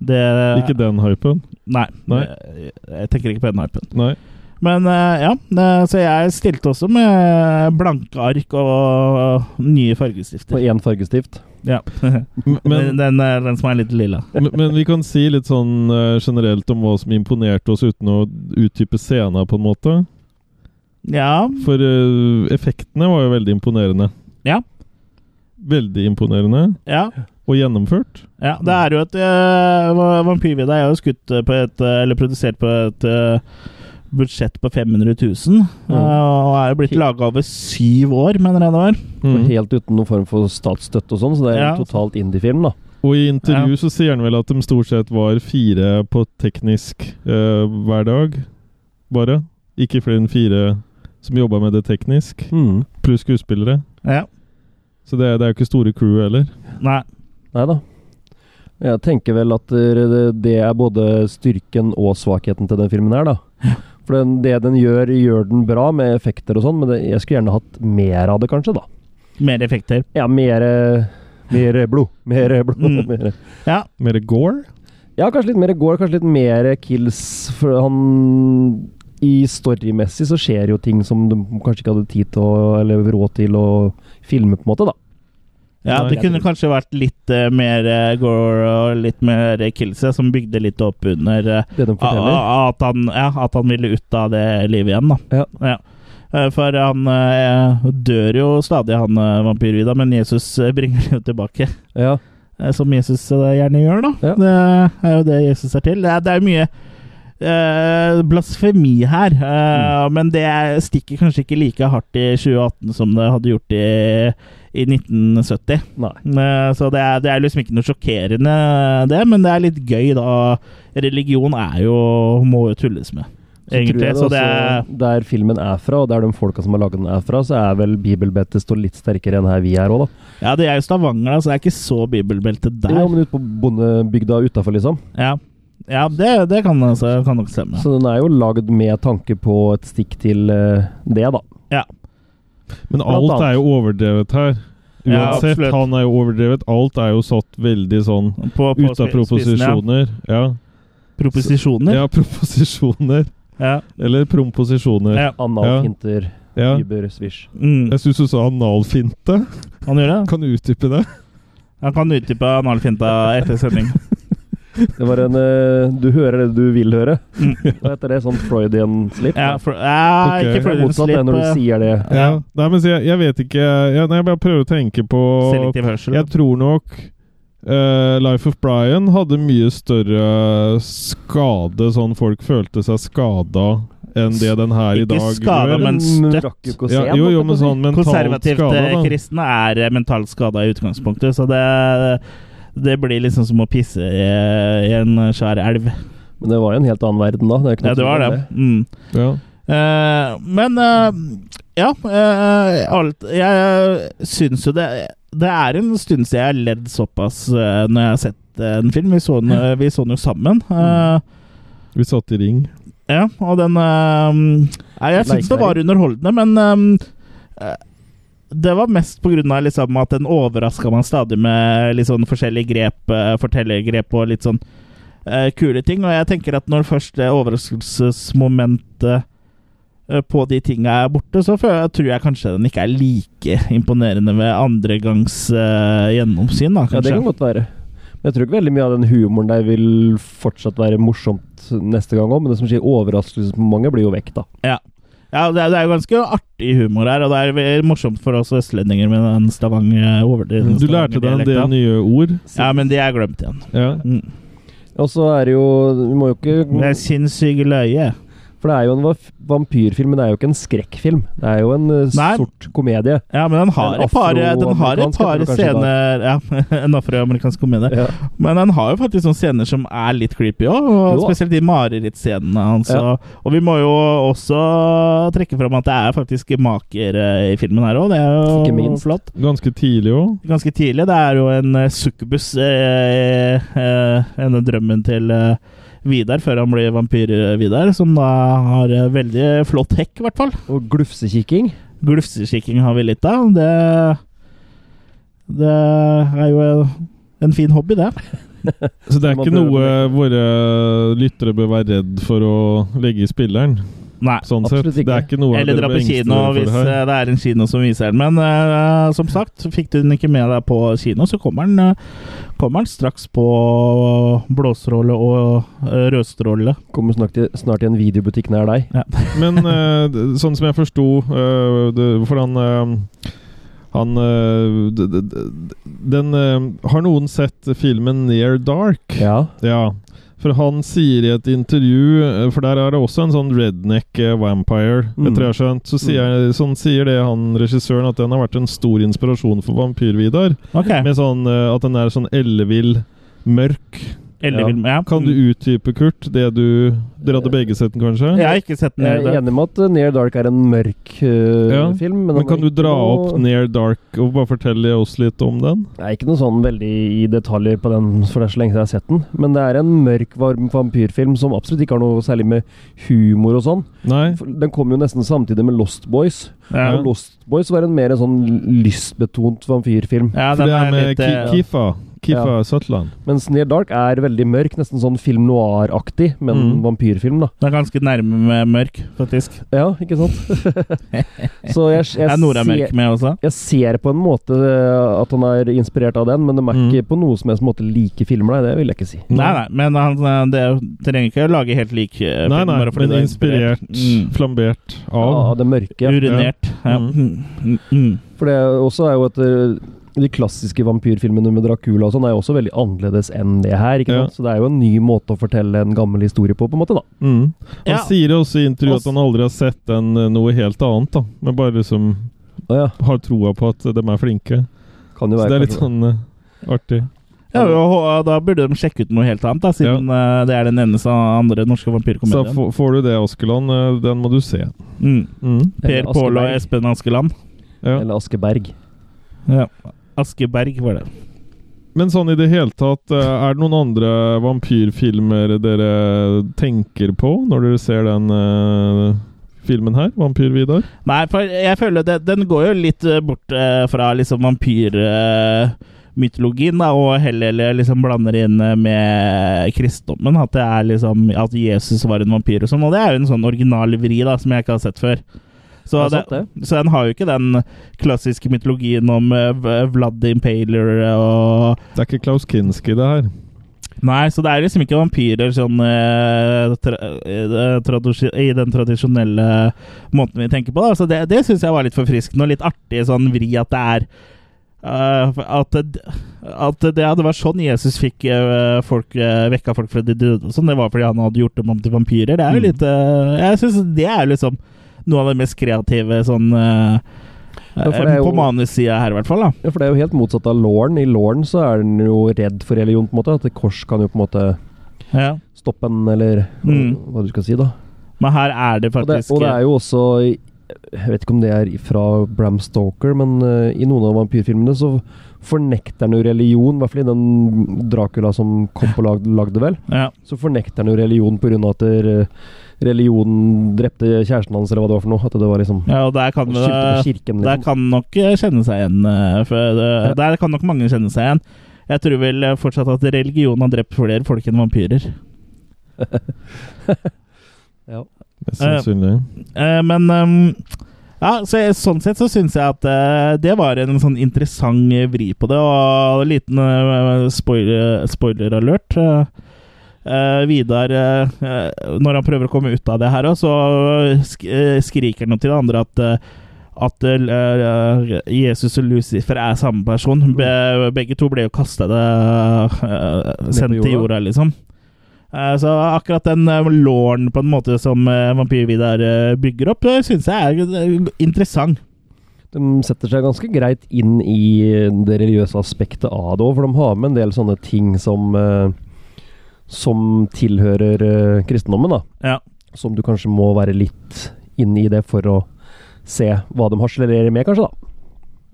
Speaker 1: det
Speaker 2: Ikke den hypen?
Speaker 1: Nei.
Speaker 2: Nei.
Speaker 1: Jeg, jeg tenker ikke på den hypen.
Speaker 2: Nei.
Speaker 1: Men eh, ja, eh, så jeg stilte også med blanke ark og nye
Speaker 3: På
Speaker 1: fargestifter.
Speaker 3: én fargestift.
Speaker 1: Ja. (laughs)
Speaker 2: M-
Speaker 1: den,
Speaker 2: Men,
Speaker 1: den, eh, den som er litt lilla.
Speaker 2: men, men vi kan si litt sånn eh, generelt om hva som imponerte oss, uten å utdype scenen, på en måte.
Speaker 1: Ja.
Speaker 2: For eh, effektene var jo veldig imponerende.
Speaker 1: Ja.
Speaker 2: Veldig imponerende.
Speaker 1: ja.
Speaker 2: Og gjennomført.
Speaker 1: Ja, det er jo et uh, Vampyrvidda er jo skutt eh, på et eh, Eller produsert på et eh, budsjett på 500 000. eh, og er jo blitt laga over syv år, mener jeg det var.
Speaker 3: Og
Speaker 2: Mm.
Speaker 3: Helt uten noen form for statsstøtte og sånn, så det er
Speaker 1: Ja.
Speaker 3: en totalt indie-film, da.
Speaker 2: Og i intervju så sier han vel at de stort sett var fire på teknisk eh, hver dag. Bare. Ikke flere enn fire som jobba med det teknisk.
Speaker 3: Mhm.
Speaker 2: Pluss skuespillere.
Speaker 1: Ja.
Speaker 2: Så det, det er jo ikke store crew heller.
Speaker 1: Nei.
Speaker 3: Nei da. Jeg tenker vel at det- det er både styrken og svakheten til den filmen
Speaker 1: (laughs)
Speaker 3: her, da. For den, det den gjør, gjør den bra med effekter og sånn, men det, jeg skulle gjerne hatt mer av det, kanskje, da.
Speaker 1: Mer effekter.
Speaker 3: Ja, mer Mer blod. Mer blod.
Speaker 1: Mm.
Speaker 3: Mer.
Speaker 1: Ja.
Speaker 2: Mer gore?
Speaker 3: Ja, kanskje litt mer gore, kanskje litt mer kills, for han i storymessig så skjer jo ting som du kanskje ikke hadde tid til å, eller råd til å filme, på en måte, da.
Speaker 1: Ja,
Speaker 2: Nei,
Speaker 1: det
Speaker 2: jeg
Speaker 1: kunne kanskje vært litt eh, mer eh, gore og litt mer kills, eh, som bygde litt opp under eh,
Speaker 3: Det de forteller.
Speaker 1: a- a- at, han, ja, at han ville ut av det livet igjen, da.
Speaker 3: Ja.
Speaker 1: Eh, For han eh, dør jo stadig, han eh, vampyrvida, men Jesus eh, bringer det jo tilbake.
Speaker 3: Ja.
Speaker 1: Eh, Som Jesus eh, gjerne gjør, da.
Speaker 3: Ja.
Speaker 1: Det er jo det Jesus er til. Det er, det er mye eh, blasfemi her, eh,
Speaker 3: Mm.
Speaker 1: men det stikker kanskje ikke like hardt i 2018 som det hadde gjort i, i 1970.
Speaker 3: Nei.
Speaker 1: Eh, Så det er, det er liksom ikke noe sjokkerende, det, men det er litt gøy, da. Religion er jo må jo tulles med,
Speaker 3: tror
Speaker 1: egentlig.
Speaker 3: jeg
Speaker 1: Så det
Speaker 3: også-
Speaker 1: er
Speaker 3: Der filmen er fra, og der de folka som har laget den er fra, så er vel bibelbeltet står litt sterkere enn her vi er òg, da.
Speaker 1: Ja, det er jo Stavanger, da, så det er ikke så bibelbelte
Speaker 3: Ja,
Speaker 1: der.
Speaker 3: men ute på bondebygda utafor, liksom.
Speaker 1: Ja, ja det, det kan, altså, kan nok stemme.
Speaker 3: Så den er jo lagd med tanke på et stikk til eh, det, da.
Speaker 2: Men
Speaker 3: Blant
Speaker 2: alt
Speaker 3: annet.
Speaker 2: er jo overdrevet her.
Speaker 1: Ja,
Speaker 2: Uansett,
Speaker 1: absolutt.
Speaker 2: han er jo overdrevet. Alt er jo satt veldig sånn
Speaker 1: På, på
Speaker 2: ut
Speaker 1: spi-
Speaker 2: av
Speaker 1: spissen, ja.
Speaker 2: proposisjoner. Ja.
Speaker 1: Proposisjoner?
Speaker 2: ja, proposisjoner.
Speaker 1: Ja.
Speaker 2: Eller promposisjoner.
Speaker 1: ja.
Speaker 3: Anal,
Speaker 2: Ja.
Speaker 3: hinter,
Speaker 2: Ja.
Speaker 3: Uber, swish.
Speaker 1: Mm.
Speaker 2: Jeg syns du sa analfinte. (laughs)
Speaker 1: Han gjør det.
Speaker 2: Kan du utdype det?
Speaker 1: Han kan utdype analfinta etter sending.
Speaker 3: Det var en eh, Du hører det du vil høre. Hva heter det? Sånn Freudian slip?
Speaker 1: Mm. Ja, for, ja,
Speaker 2: Ok.
Speaker 1: ikke
Speaker 3: Det er
Speaker 1: Freudian
Speaker 3: motsatt det når du
Speaker 1: slip. eh,
Speaker 3: sier det.
Speaker 2: Ja. Nei, men så jeg, jeg vet ikke ja, nei, Jeg bare prøver å tenke på
Speaker 1: eh, Selektiv hørsel.
Speaker 2: Jeg tror nok eh, Life of Brian hadde mye større skade, sånn folk følte seg skada, enn det den her i
Speaker 1: Ikke
Speaker 2: dag
Speaker 1: skada,
Speaker 2: gjør.
Speaker 1: men
Speaker 3: Mm,
Speaker 1: støtt.
Speaker 3: rakk jo ikke å se
Speaker 2: ja,
Speaker 3: den,
Speaker 2: jo, jo,
Speaker 3: holdt jeg på å
Speaker 2: men
Speaker 3: si.
Speaker 2: sånn mentalt
Speaker 1: Konservativt
Speaker 2: skada,
Speaker 1: eh,
Speaker 2: da.
Speaker 1: kristne er eh, mentalt skada i utgangspunktet, så det det blir liksom som å pisse i, i en skjær elv.
Speaker 3: Men det var jo en helt annen verden da. Det er ikke noe
Speaker 1: Ja, det
Speaker 3: tvil
Speaker 1: var
Speaker 3: om
Speaker 1: det. Mm.
Speaker 2: Ja.
Speaker 1: Eh, men eh, ja eh, alt, Jeg syns jo det Det er en stund siden jeg har ledd såpass eh, når jeg har sett eh, en film. Vi så den, eh, vi så den jo sammen. Eh,
Speaker 2: Vi satt i ring.
Speaker 1: ja, og den eh, Nei, jeg syns det var underholdende, men eh, eh, det var mest på grunn av liksom, at den overraska man stadig med litt sånn forskjellige grep, eh, fortellergrep og litt sånn eh, kule ting. Og jeg tenker at når først det overraskelsesmomentet eh, på de tinga er borte, så føler jeg, tror jeg kanskje den ikke er like imponerende ved andre gangs eh, gjennomsyn, da,
Speaker 3: Ja, det
Speaker 1: kanskje.
Speaker 3: kan godt være. Men jeg tror ikke veldig mye av den humoren der vil fortsatt være morsomt neste gang òg, men det som skjer overraskelsesmomentet, blir jo vekk, da.
Speaker 1: Ja, det er, det er jo ganske artig humor her, og det er vel morsomt for oss østlendinger med den Stavanger overdriven
Speaker 2: Du lærte deg en del
Speaker 1: Stavanger-dialekten.
Speaker 2: nye ord.
Speaker 1: Ja, men de er glemt igjen.
Speaker 2: Ja.
Speaker 1: Mm.
Speaker 3: Og så er det jo Vi må jo
Speaker 1: Det
Speaker 3: ikke
Speaker 1: er sinnssyke løye.
Speaker 3: For det er jo en va- vampyrfilm, men det er jo ikke en skrekkfilm. Det er jo en eh,
Speaker 1: Nei.
Speaker 3: sort
Speaker 1: (laughs)
Speaker 3: komedie.
Speaker 1: Ja, men den har
Speaker 3: En
Speaker 1: et par, den har et
Speaker 3: afroamerikansk,
Speaker 1: par
Speaker 3: heter det kanskje
Speaker 1: scener Ja, (laughs) en afroamerikansk komedie.
Speaker 3: Ja.
Speaker 1: Men han har jo faktisk noen scener som er litt creepy òg, og
Speaker 3: Jo.
Speaker 1: spesielt de marerittscenene hans.
Speaker 3: Ja.
Speaker 1: Og, og vi må jo også trekke fram at det er faktisk maker eh, i filmen her òg. Det er jo
Speaker 3: Ikke minst.
Speaker 1: flott.
Speaker 2: Ganske tidlig òg.
Speaker 1: Ganske tidlig. Det er jo en uh, succubus, eh, eh, en av drømmen til eh, Vidar før han blir vampyr-Vidar, som da har eh, veldig flott hekk, i hvert fall.
Speaker 3: Og glufsekikking.
Speaker 1: Glufsekikking har vi litt av. Det, det er jo en, en fin hobby, det.
Speaker 2: Så det er
Speaker 3: Man
Speaker 2: ikke
Speaker 3: bør-
Speaker 2: noe våre lyttere bør være redd for å legge i spilleren.
Speaker 1: Nei.
Speaker 2: Sånn sett.
Speaker 3: Absolutt ikke.
Speaker 2: Det er ikke noe
Speaker 1: Eller
Speaker 2: dere
Speaker 1: dra
Speaker 2: bør
Speaker 1: på
Speaker 2: engste
Speaker 1: kino
Speaker 2: dere
Speaker 1: hvis
Speaker 2: for her.
Speaker 1: eh, det er en kino som viser den. Men eh, som sagt, fikk du den ikke med deg på kino, så kommer den, eh, kommer den straks på blåstråle og eh, rødstråle.
Speaker 3: Kommer snart i, snart i en videobutikk nær deg.
Speaker 2: Men eh, d- sånn som jeg forsto eh, det- For han eh, Han eh, d- d- d- Den eh, Har noen sett filmen Near Dark?
Speaker 3: Ja.
Speaker 2: Ja. For han sier i et intervju eh, For der er det også en sånn redneck eh, vampire,
Speaker 3: Mm.
Speaker 2: etter jeg har skjønt. Så sier, sånn sier det han regissøren at den har vært en stor inspirasjon for Vampyr-Vidar.
Speaker 1: Ok.
Speaker 2: Med sånn eh, at den er sånn ellevill, mørk.
Speaker 1: Ellevill, ja. Mm.
Speaker 2: Kan du utdype, Kurt, det du Dere hadde begge sett den, kanskje?
Speaker 1: Jeg har ikke sett den. i
Speaker 3: Jeg er
Speaker 1: det.
Speaker 3: enig med at eh, Near Dark er en mørk eh,
Speaker 2: Ja,
Speaker 3: film.
Speaker 2: Men
Speaker 3: Men, den er
Speaker 2: kan du
Speaker 3: ikke
Speaker 2: dra
Speaker 3: noe-
Speaker 2: opp Near Dark og bare fortelle oss litt om den?
Speaker 3: Det er ikke noe sånn veldig i detaljer på den, for det er så lenge siden jeg har sett den. Men det er en mørk, varm vampyrfilm som absolutt ikke har noe særlig med humor og sånn.
Speaker 2: Nei?
Speaker 3: For Den kom jo nesten samtidig med Lost Boys.
Speaker 1: Ja.
Speaker 3: Og Lost Boys var en mer en sånn lystbetont vampyrfilm.
Speaker 1: Ja,
Speaker 2: For
Speaker 1: den
Speaker 2: det er med
Speaker 1: litt,
Speaker 2: Ki
Speaker 1: eh,
Speaker 2: Kifa. Kifa
Speaker 3: Ja.
Speaker 2: Sutland.
Speaker 3: Mens Near Dark er veldig mørk, nesten sånn film noir-aktig, men
Speaker 2: Mm.
Speaker 3: vampyrfilm, da.
Speaker 1: Den er ganske nærme med mørk, faktisk.
Speaker 3: Ja, ikke sant? så jeg, jeg,
Speaker 1: Det er Nora
Speaker 3: ser-
Speaker 1: Mørk med også.
Speaker 3: jeg ser på en måte eh, at han er inspirert av den, men de er
Speaker 2: Mm.
Speaker 3: ikke på noe som helst måte like filmer, nei. Det vil jeg ikke si.
Speaker 1: Nei, nei, men han eh, det er jo- trenger ikke å lage helt lik eh,
Speaker 2: Nei,
Speaker 1: film
Speaker 2: nei,
Speaker 1: bare fordi
Speaker 2: men
Speaker 1: det er
Speaker 2: inspirert,
Speaker 1: Mm.
Speaker 2: flambert
Speaker 3: Av
Speaker 2: av
Speaker 3: det mørke.
Speaker 1: Urinert. Ja.
Speaker 2: Mm.
Speaker 1: Mm. Mm.
Speaker 3: For det er også er jo at eh, de klassiske vampyrfilmene med Dracula og sånn er jo også veldig annerledes enn det her. ikke
Speaker 2: Ja.
Speaker 3: sant? Så det er jo en ny måte å fortelle en gammel historie på, på en måte, da.
Speaker 2: mm. Han
Speaker 1: Ja.
Speaker 2: sier også i intervjuet
Speaker 1: Og s-
Speaker 2: at han aldri har sett en, eh, noe helt annet, da. Men bare liksom
Speaker 3: Å ja,
Speaker 2: har troa på at eh, de er flinke.
Speaker 3: kan jo
Speaker 2: Så
Speaker 3: være
Speaker 2: det er litt
Speaker 3: kanskje-
Speaker 2: sånn eh, artig.
Speaker 1: Ja, og da burde de sjekke ut noe helt annet, da, siden eh, det er den eneste andre norske
Speaker 2: Så
Speaker 1: vampyrkomedien.
Speaker 2: få- får du det, Askeland. eh, Den må du se.
Speaker 1: Mm.
Speaker 2: Mm.
Speaker 3: Eller
Speaker 1: Per Pål og
Speaker 3: Askeberg.
Speaker 1: Espen Askeland.
Speaker 2: Ja.
Speaker 3: Eller Askeberg.
Speaker 1: Ja. Askeberg var det.
Speaker 2: Men sånn i det hele tatt, eh, er det noen andre vampyrfilmer dere tenker på når dere ser den eh, filmen her? Vampyr-Vidar?
Speaker 1: Nei, for jeg føler det, den går jo litt eh, bort eh, fra liksom vampyrmytologien, da, og heller liksom blander inn eh, med kristendommen. At det er liksom At Jesus var en vampyr og sånn. Og det er jo en sånn original vri da, som jeg ikke har sett før. Så,
Speaker 3: Det er
Speaker 1: det,
Speaker 3: sant,
Speaker 1: så den har jo ikke den klassiske mytologien om eh, V- Vlad the Impaler og
Speaker 2: Det er ikke Klaus Kinski, det her.
Speaker 1: Nei, så det er liksom ikke vampyrer sånn eh, tra eh, tradisj- i den tradisjonelle måten vi tenker på. Da. Så det, det syns jeg var litt forfriskende og litt artig sånn vri at det er eh, at, det- at det, ja, det var sånn Jesus fikk eh, folk, eh, vekka folk fra de døde og sånn. Det var fordi han hadde gjort dem om til vampyrer. Det
Speaker 3: Mm.
Speaker 1: er jo litt eh, Jeg syns det er liksom noe av det mest kreative sånn eh,
Speaker 3: Ja, for det er
Speaker 1: eh, På
Speaker 3: jo-
Speaker 1: manussida her, i hvert fall. da
Speaker 3: Ja, for det er jo helt motsatt av Lauren. I Lauren så er den jo redd for religion, på en måte. At et kors kan jo på en måte
Speaker 1: ja.
Speaker 3: stoppe en, eller
Speaker 1: Mm.
Speaker 3: hva du skal si, da.
Speaker 1: Men her er det
Speaker 3: Og det,
Speaker 1: faktisk eh,
Speaker 3: og det er jo også i- Jeg vet ikke om det er fra Bram Stoker, men eh, i noen av vampyrfilmene så fornekter han jo religion. I hvert fall i den Dracula som Coppola lagde, vel.
Speaker 1: ja.
Speaker 3: Så fornekter han jo religion pga. at eh, religionen drepte kjæresten hans, eller hva det var for noe. At det var liksom
Speaker 1: Ja, og der kan
Speaker 3: Skyldte på
Speaker 1: det
Speaker 3: kirken,
Speaker 1: Der
Speaker 3: liksom.
Speaker 1: kan nok eh, kjenne seg igjen. eh, For, eh, der kan nok mange kjenne seg igjen. Jeg tror vel eh, fortsatt at religion har drept flere folk enn vampyrer.
Speaker 2: Mest sannsynlig.
Speaker 1: Eh, Men ehm, ja, så jeg, Sånn sett så syns jeg at eh, det var en sånn interessant eh, vri på det. Og en liten eh, spoiler, spoiler alert. eh, eh, Vidar, eh, eh, når han prøver å komme ut av det her, også, så sk eh, skriker han til de andre at eh, at eh, Jesus og Lucifer er samme person.
Speaker 3: Mm.
Speaker 1: Be begge to ble jo kasta Sendt til
Speaker 3: jorda.
Speaker 1: jorda, liksom. Eh, Så akkurat den eh, låren på en måte som eh, Vampyr-Vidar eh, bygger opp, eh, syns jeg er eh, interessant.
Speaker 3: De setter seg ganske greit inn i eh, det religiøse aspektet av det òg, for de har med en del sånne ting som eh, Som tilhører eh, kristendommen, da.
Speaker 1: Ja.
Speaker 3: Som du kanskje må være litt inn i det for å se hva de harselerer med, kanskje, da.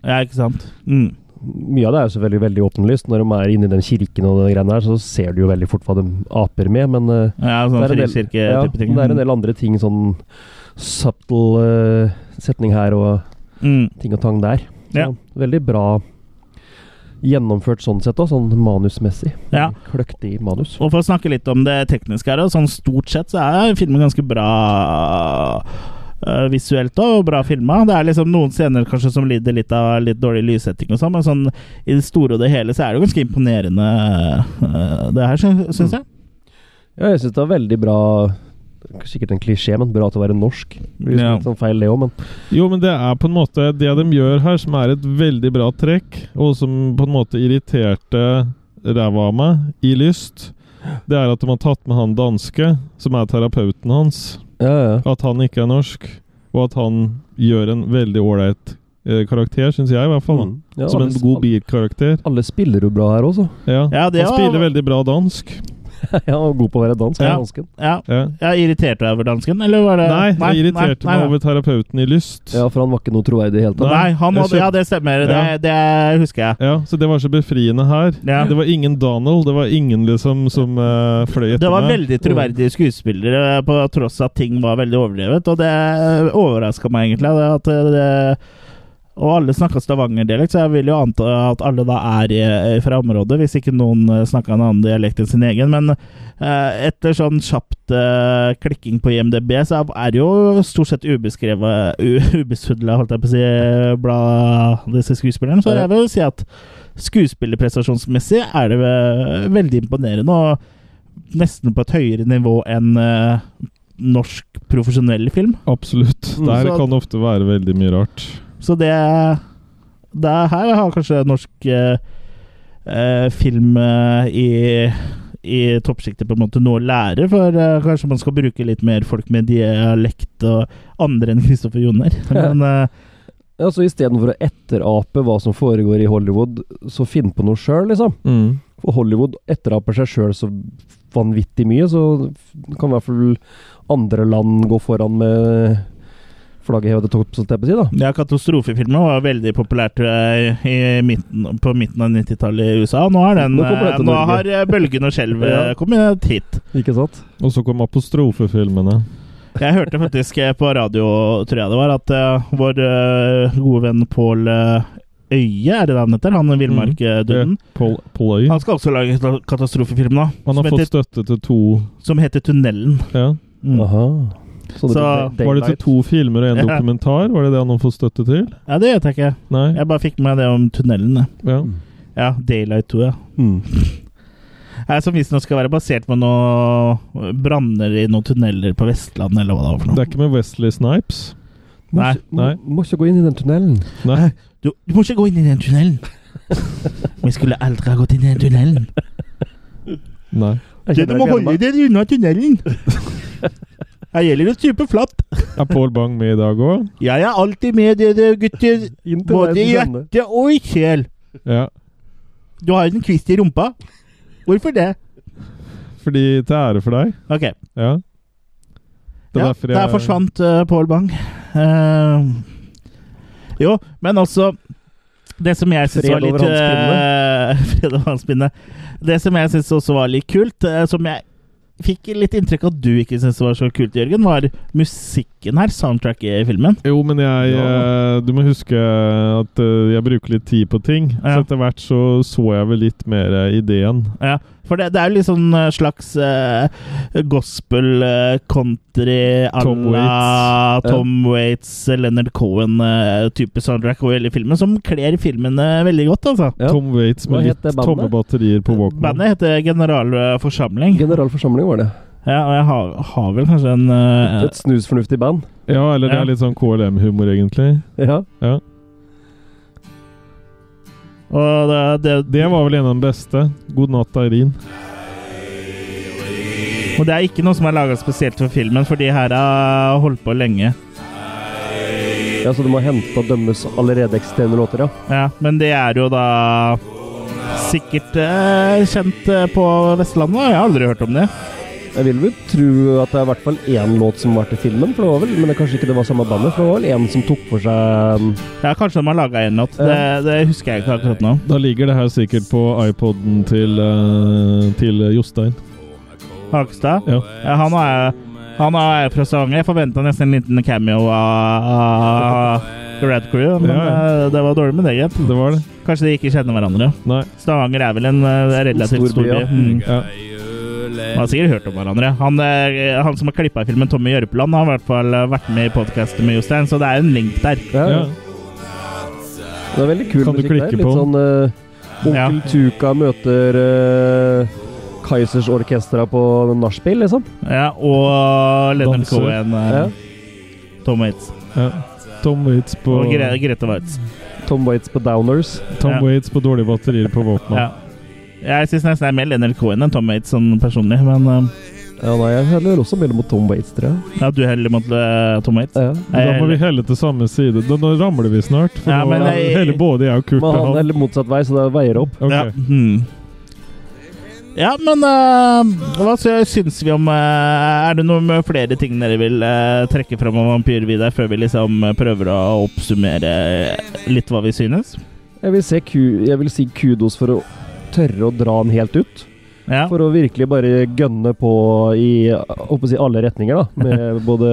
Speaker 1: Ja, ikke sant? Mm.
Speaker 3: Mye av det er jo selvfølgelig veldig åpenlyst. Når de er inne i den kirken og de greiene der, så ser du jo veldig fort hva de aper med, men eh,
Speaker 1: Ja, sånn
Speaker 3: det er en del- ja,
Speaker 1: frikirke-type ting.
Speaker 3: Det er en del andre ting, sånn subtle eh, setning her og
Speaker 1: Mm.
Speaker 3: ting og tang der. Så
Speaker 1: Ja.
Speaker 3: Veldig bra gjennomført sånn sett òg, sånn manusmessig.
Speaker 1: Ja.
Speaker 3: Kløkt i manus.
Speaker 1: Og for å snakke litt om det tekniske her, og sånn stort sett så er filmen ganske bra eh, visuelt og bra filma. Det er liksom noen scener kanskje som lider litt av litt dårlig lyssetting og sånn, men sånn i det store og det hele så er det jo ganske imponerende, eh, det her, sy- syns jeg.
Speaker 3: Ja, jeg syns det var veldig bra Sikkert en klisjé, men bra til å være norsk. Det blir
Speaker 1: Ja.
Speaker 3: litt sånn feil det også, men
Speaker 2: Jo, men det er på en måte det de gjør her, som er et veldig bra trekk, og som på en måte irriterte ræva av meg i lyst, det er at de har tatt med han danske, som er terapeuten hans,
Speaker 3: ja, ja.
Speaker 2: at han ikke er norsk, og at han gjør en veldig ålreit eh, karakter, syns jeg i hvert fall. da.
Speaker 3: Mm. Ja,
Speaker 2: Som
Speaker 3: alle-
Speaker 2: en god bierkarakter.
Speaker 3: Alle spiller jo bra her også.
Speaker 2: Ja.
Speaker 1: Ja, det
Speaker 2: han
Speaker 1: var-
Speaker 2: spiller veldig bra dansk.
Speaker 3: (laughs) ja, og god på å være dansk.
Speaker 1: Ja.
Speaker 3: Dansken.
Speaker 1: Ja,
Speaker 2: Ja.
Speaker 1: Jeg irriterte deg over dansken, eller var det
Speaker 2: Nei, jeg irriterte
Speaker 1: Eh, nei,
Speaker 2: meg
Speaker 1: nei.
Speaker 2: over terapeuten i lyst.
Speaker 3: ja, for han var ikke noe troverdig i det hele tatt.
Speaker 1: Nei, han
Speaker 2: Jeg
Speaker 1: hadde, ja,
Speaker 2: kjøpt-
Speaker 1: det stemmer. Det,
Speaker 2: Ja.
Speaker 1: det husker jeg.
Speaker 2: Ja, så det var så befriende her.
Speaker 1: Ja.
Speaker 2: Det var ingen Donald, det var ingen liksom som eh, fløy etter
Speaker 1: Det var
Speaker 2: meg.
Speaker 1: veldig troverdige skuespillere, på tross av at ting var veldig overdrevet. Og det overraska meg egentlig. Det at det, og alle snakka stavangerdialekt, så jeg vil jo anta at alle da er i- fra området, hvis ikke noen snakka en annen dialekt enn sin egen. Men eh, etter sånn kjapt eh, klikking på IMDb, så er det jo stort sett ubeskrevet u- (laughs) Ubesudla, holdt jeg på å si, blad disse skuespillerne. Så jeg vil jo si at skuespillerprestasjonsmessig er det ve- veldig imponerende. og nesten på et høyere nivå enn eh, norsk profesjonell film.
Speaker 2: Absolutt.
Speaker 1: Mm,
Speaker 2: Der
Speaker 1: så-
Speaker 2: kan det ofte være veldig mye rart.
Speaker 1: Så det, det er her har kanskje norsk eh, eh, film eh, i, i toppsjiktet på en måte noe å lære, for eh, kanskje man skal bruke litt mer folk med dialekt og andre enn Kristoffer Joner. Men eh,
Speaker 3: Ja, så Istedenfor å etterape hva som foregår i Hollywood, så finn på noe sjøl, liksom.
Speaker 2: Mm.
Speaker 3: For Hollywood etteraper seg sjøl så vanvittig mye, så kan i hvert fall andre land gå foran med flagget hevet til topps, holdt jeg på å si, da.
Speaker 1: ja, katastrofefilmer var veldig populært eh, i midten, på midten av 90-tallet i USA. Nå, er den,
Speaker 3: Nå kommer
Speaker 1: eh,
Speaker 3: det til
Speaker 1: nå
Speaker 3: Norge.
Speaker 1: har eh, bølgen og skjelvet
Speaker 3: Ja.
Speaker 1: kommet hit.
Speaker 3: Ikke sant?
Speaker 2: Og så kom apostrofefilmene.
Speaker 1: Jeg hørte faktisk eh, på radio, tror jeg det var, at eh, vår eh, gode venn Pål eh, Øye, er det det han heter? Han
Speaker 2: Mm.
Speaker 1: villmarkduden.
Speaker 2: Pol Poløy.
Speaker 1: Han skal også lage en katastrofefilm nå,
Speaker 2: Han
Speaker 1: som
Speaker 2: har fått
Speaker 1: heter,
Speaker 2: støtte til to
Speaker 1: som heter 'Tunnelen'.
Speaker 2: ja.
Speaker 1: Mm.
Speaker 3: Aha. Så det
Speaker 1: Så-
Speaker 3: blir
Speaker 2: Var det til
Speaker 3: daylight.
Speaker 2: to filmer og en
Speaker 1: Ja.
Speaker 2: dokumentar? Var det det han har fått støtte til?
Speaker 1: Ja, det vet jeg ikke.
Speaker 2: Nei?
Speaker 1: Jeg bare fikk med meg det om tunnelen. jeg.
Speaker 2: Ja.
Speaker 1: Ja, Daylight 2, ja.
Speaker 3: Mm.
Speaker 1: Eh, Som visstnok skal være basert på noe eh, branner i noen tunneler på Vestlandet, eller hva det var for
Speaker 2: Det
Speaker 1: noe.
Speaker 2: er ikke med Wesley Snipes.
Speaker 3: Må
Speaker 1: Nei,
Speaker 3: ikke-
Speaker 2: nei.
Speaker 3: Må, må ikke gå inn i den tunnelen.
Speaker 2: Nei.
Speaker 1: Du, du må ikke gå inn i den
Speaker 2: (laughs)
Speaker 1: tunnelen! Vi skulle aldri ha gått inn i den tunnelen.
Speaker 2: Nei.
Speaker 3: Jeg kjenner jeg gleder meg.
Speaker 1: deg unna tunnelen! (laughs) Her gjelder det å stupe flatt.
Speaker 2: Er Paul Bang med i dag òg?
Speaker 1: Jeg er alltid med dere, (laughs) gutter.
Speaker 3: Inn til
Speaker 1: Både i
Speaker 3: verdens ende.
Speaker 1: hjerte og i sjel.
Speaker 2: Ja.
Speaker 1: Du har en kvist i rumpa. Hvorfor det?
Speaker 2: Fordi til ære for deg.
Speaker 1: Ok.
Speaker 2: Ja. Det er
Speaker 1: ja,
Speaker 2: derfor jeg
Speaker 1: Der forsvant eh, Paul Bang. Eh, jo, men også Det som jeg syns
Speaker 3: Fred
Speaker 1: var litt
Speaker 3: over hans
Speaker 1: eh, (laughs) Fred over hans pinne. Det som jeg syns også var litt kult, eh, som jeg fikk litt inntrykk av at du ikke syntes var så kult, Jørgen, var musikken her. Soundtracket i filmen.
Speaker 2: Jo, men jeg
Speaker 3: Ja.
Speaker 2: eh, Du må huske at eh, jeg bruker litt tid på ting.
Speaker 1: Ja.
Speaker 2: Så etter hvert så så jeg vel litt mer eh, ideen.
Speaker 1: Ja, for det, det er jo litt sånn eh, slags eh, gospel, eh, country à
Speaker 2: Tom
Speaker 1: la
Speaker 3: Waits.
Speaker 1: Tom Waits, eh, Leonard Cohen-type soundtrack over hele filmen, som kler filmene veldig godt, altså. Eh,
Speaker 3: Ja.
Speaker 2: Tom Waits
Speaker 3: Hva
Speaker 2: med
Speaker 3: het
Speaker 2: litt
Speaker 3: det bandet?
Speaker 2: tomme batterier på Walkman.
Speaker 1: Bandet heter Generalforsamling.
Speaker 3: Generalforsamling var det.
Speaker 1: Ja, og jeg har, har vel kanskje en eh,
Speaker 3: Et snusfornuftig band.
Speaker 2: Ja, eller det
Speaker 1: Ja.
Speaker 2: er litt sånn KLM-humor, egentlig.
Speaker 3: Ja.
Speaker 2: Ja.
Speaker 1: Og det, det,
Speaker 2: Det var vel en av de beste. God natt, Eirin.
Speaker 1: og det er ikke noe som er laga spesielt for filmen, for de her har holdt på lenge.
Speaker 3: ja, Så du må hente og dømmes allerede eksisterende låter, ja?
Speaker 1: Ja, men det er jo da sikkert eh, kjent eh, på Vestlandet. og Jeg har aldri hørt om det.
Speaker 3: Jeg vil vel tro at det er i hvert fall én låt som var til filmen, for det var vel, men det kanskje ikke det var samme bandet. For det var vel én som tok for seg um,
Speaker 1: Ja, kanskje de har laga en låt. Det, det husker jeg ikke akkurat nå.
Speaker 2: Da ligger det her sikkert på iPoden til, eh, til Jostein.
Speaker 1: Hakstad?
Speaker 2: Ja.
Speaker 1: Ja, han er han er fra Stavanger. Jeg forventa nesten en liten cameo av, av The Red Crew, men
Speaker 2: Ja.
Speaker 1: eh, det var dårlig med det, gitt.
Speaker 2: Det var det.
Speaker 1: Kanskje de ikke kjenner hverandre.
Speaker 2: Nei.
Speaker 1: Stavanger er vel en eh, relativt
Speaker 3: Stor
Speaker 1: stor
Speaker 3: by,
Speaker 1: by.
Speaker 3: ja.
Speaker 1: Mm.
Speaker 2: Ja.
Speaker 1: Man har sikkert hørt om hverandre. Han, eh, han som har klippa i filmen Tommy Jørpeland, har i hvert fall eh, vært med i podkasten med Jostein, så det er en link der.
Speaker 3: ja,
Speaker 2: Ja.
Speaker 3: Det var veldig kul
Speaker 2: Kan du
Speaker 3: musikk der.
Speaker 2: klikke
Speaker 3: Litt
Speaker 2: på den?
Speaker 3: sånn eh, Onkel Tuka møter uh, Kaizers Orkestra på nachspiel, liksom.
Speaker 1: Ja, og Leonard
Speaker 2: Danser.
Speaker 1: Cohen, eh,
Speaker 3: Ja.
Speaker 1: Tom Waits
Speaker 2: ja. Tom Waits på
Speaker 1: og Gre Grete Waitz.
Speaker 3: Tom Waits på Downers.
Speaker 2: Tom
Speaker 1: Ja.
Speaker 2: Waits på dårlige batterier på Walkman.
Speaker 1: Ja. Jeg syns nesten det er mer Leonard Cohen enn Tom Waits sånn personlig, men eh,
Speaker 3: Ja, nei, jeg heller også mellom mot Tom Waits, tror jeg.
Speaker 1: ja, du heller mot eh, Tom Waits.
Speaker 3: Ja.
Speaker 2: Da må vi helle til samme side. Da, nå ramler vi snart. For
Speaker 1: Ja,
Speaker 2: nå
Speaker 1: men
Speaker 2: er
Speaker 1: jeg-
Speaker 2: heller både jeg og Kurt
Speaker 3: Men
Speaker 2: og
Speaker 3: han
Speaker 2: han.
Speaker 3: heller motsatt vei, så det veier opp.
Speaker 2: Ok.
Speaker 1: Ja. Hmm. Ja, men eh, hva sy- syns vi om eh, Er det noen flere ting dere vil eh, trekke fram om Vampyr-Vidar, før vi liksom eh, prøver å oppsummere litt hva vi synes?
Speaker 3: Jeg vil, se ku jeg vil si kudos for å tørre å dra den helt ut.
Speaker 1: Ja.
Speaker 3: For å virkelig bare gønne på i jeg håper å si, alle retninger, da.
Speaker 1: (laughs)
Speaker 3: Med både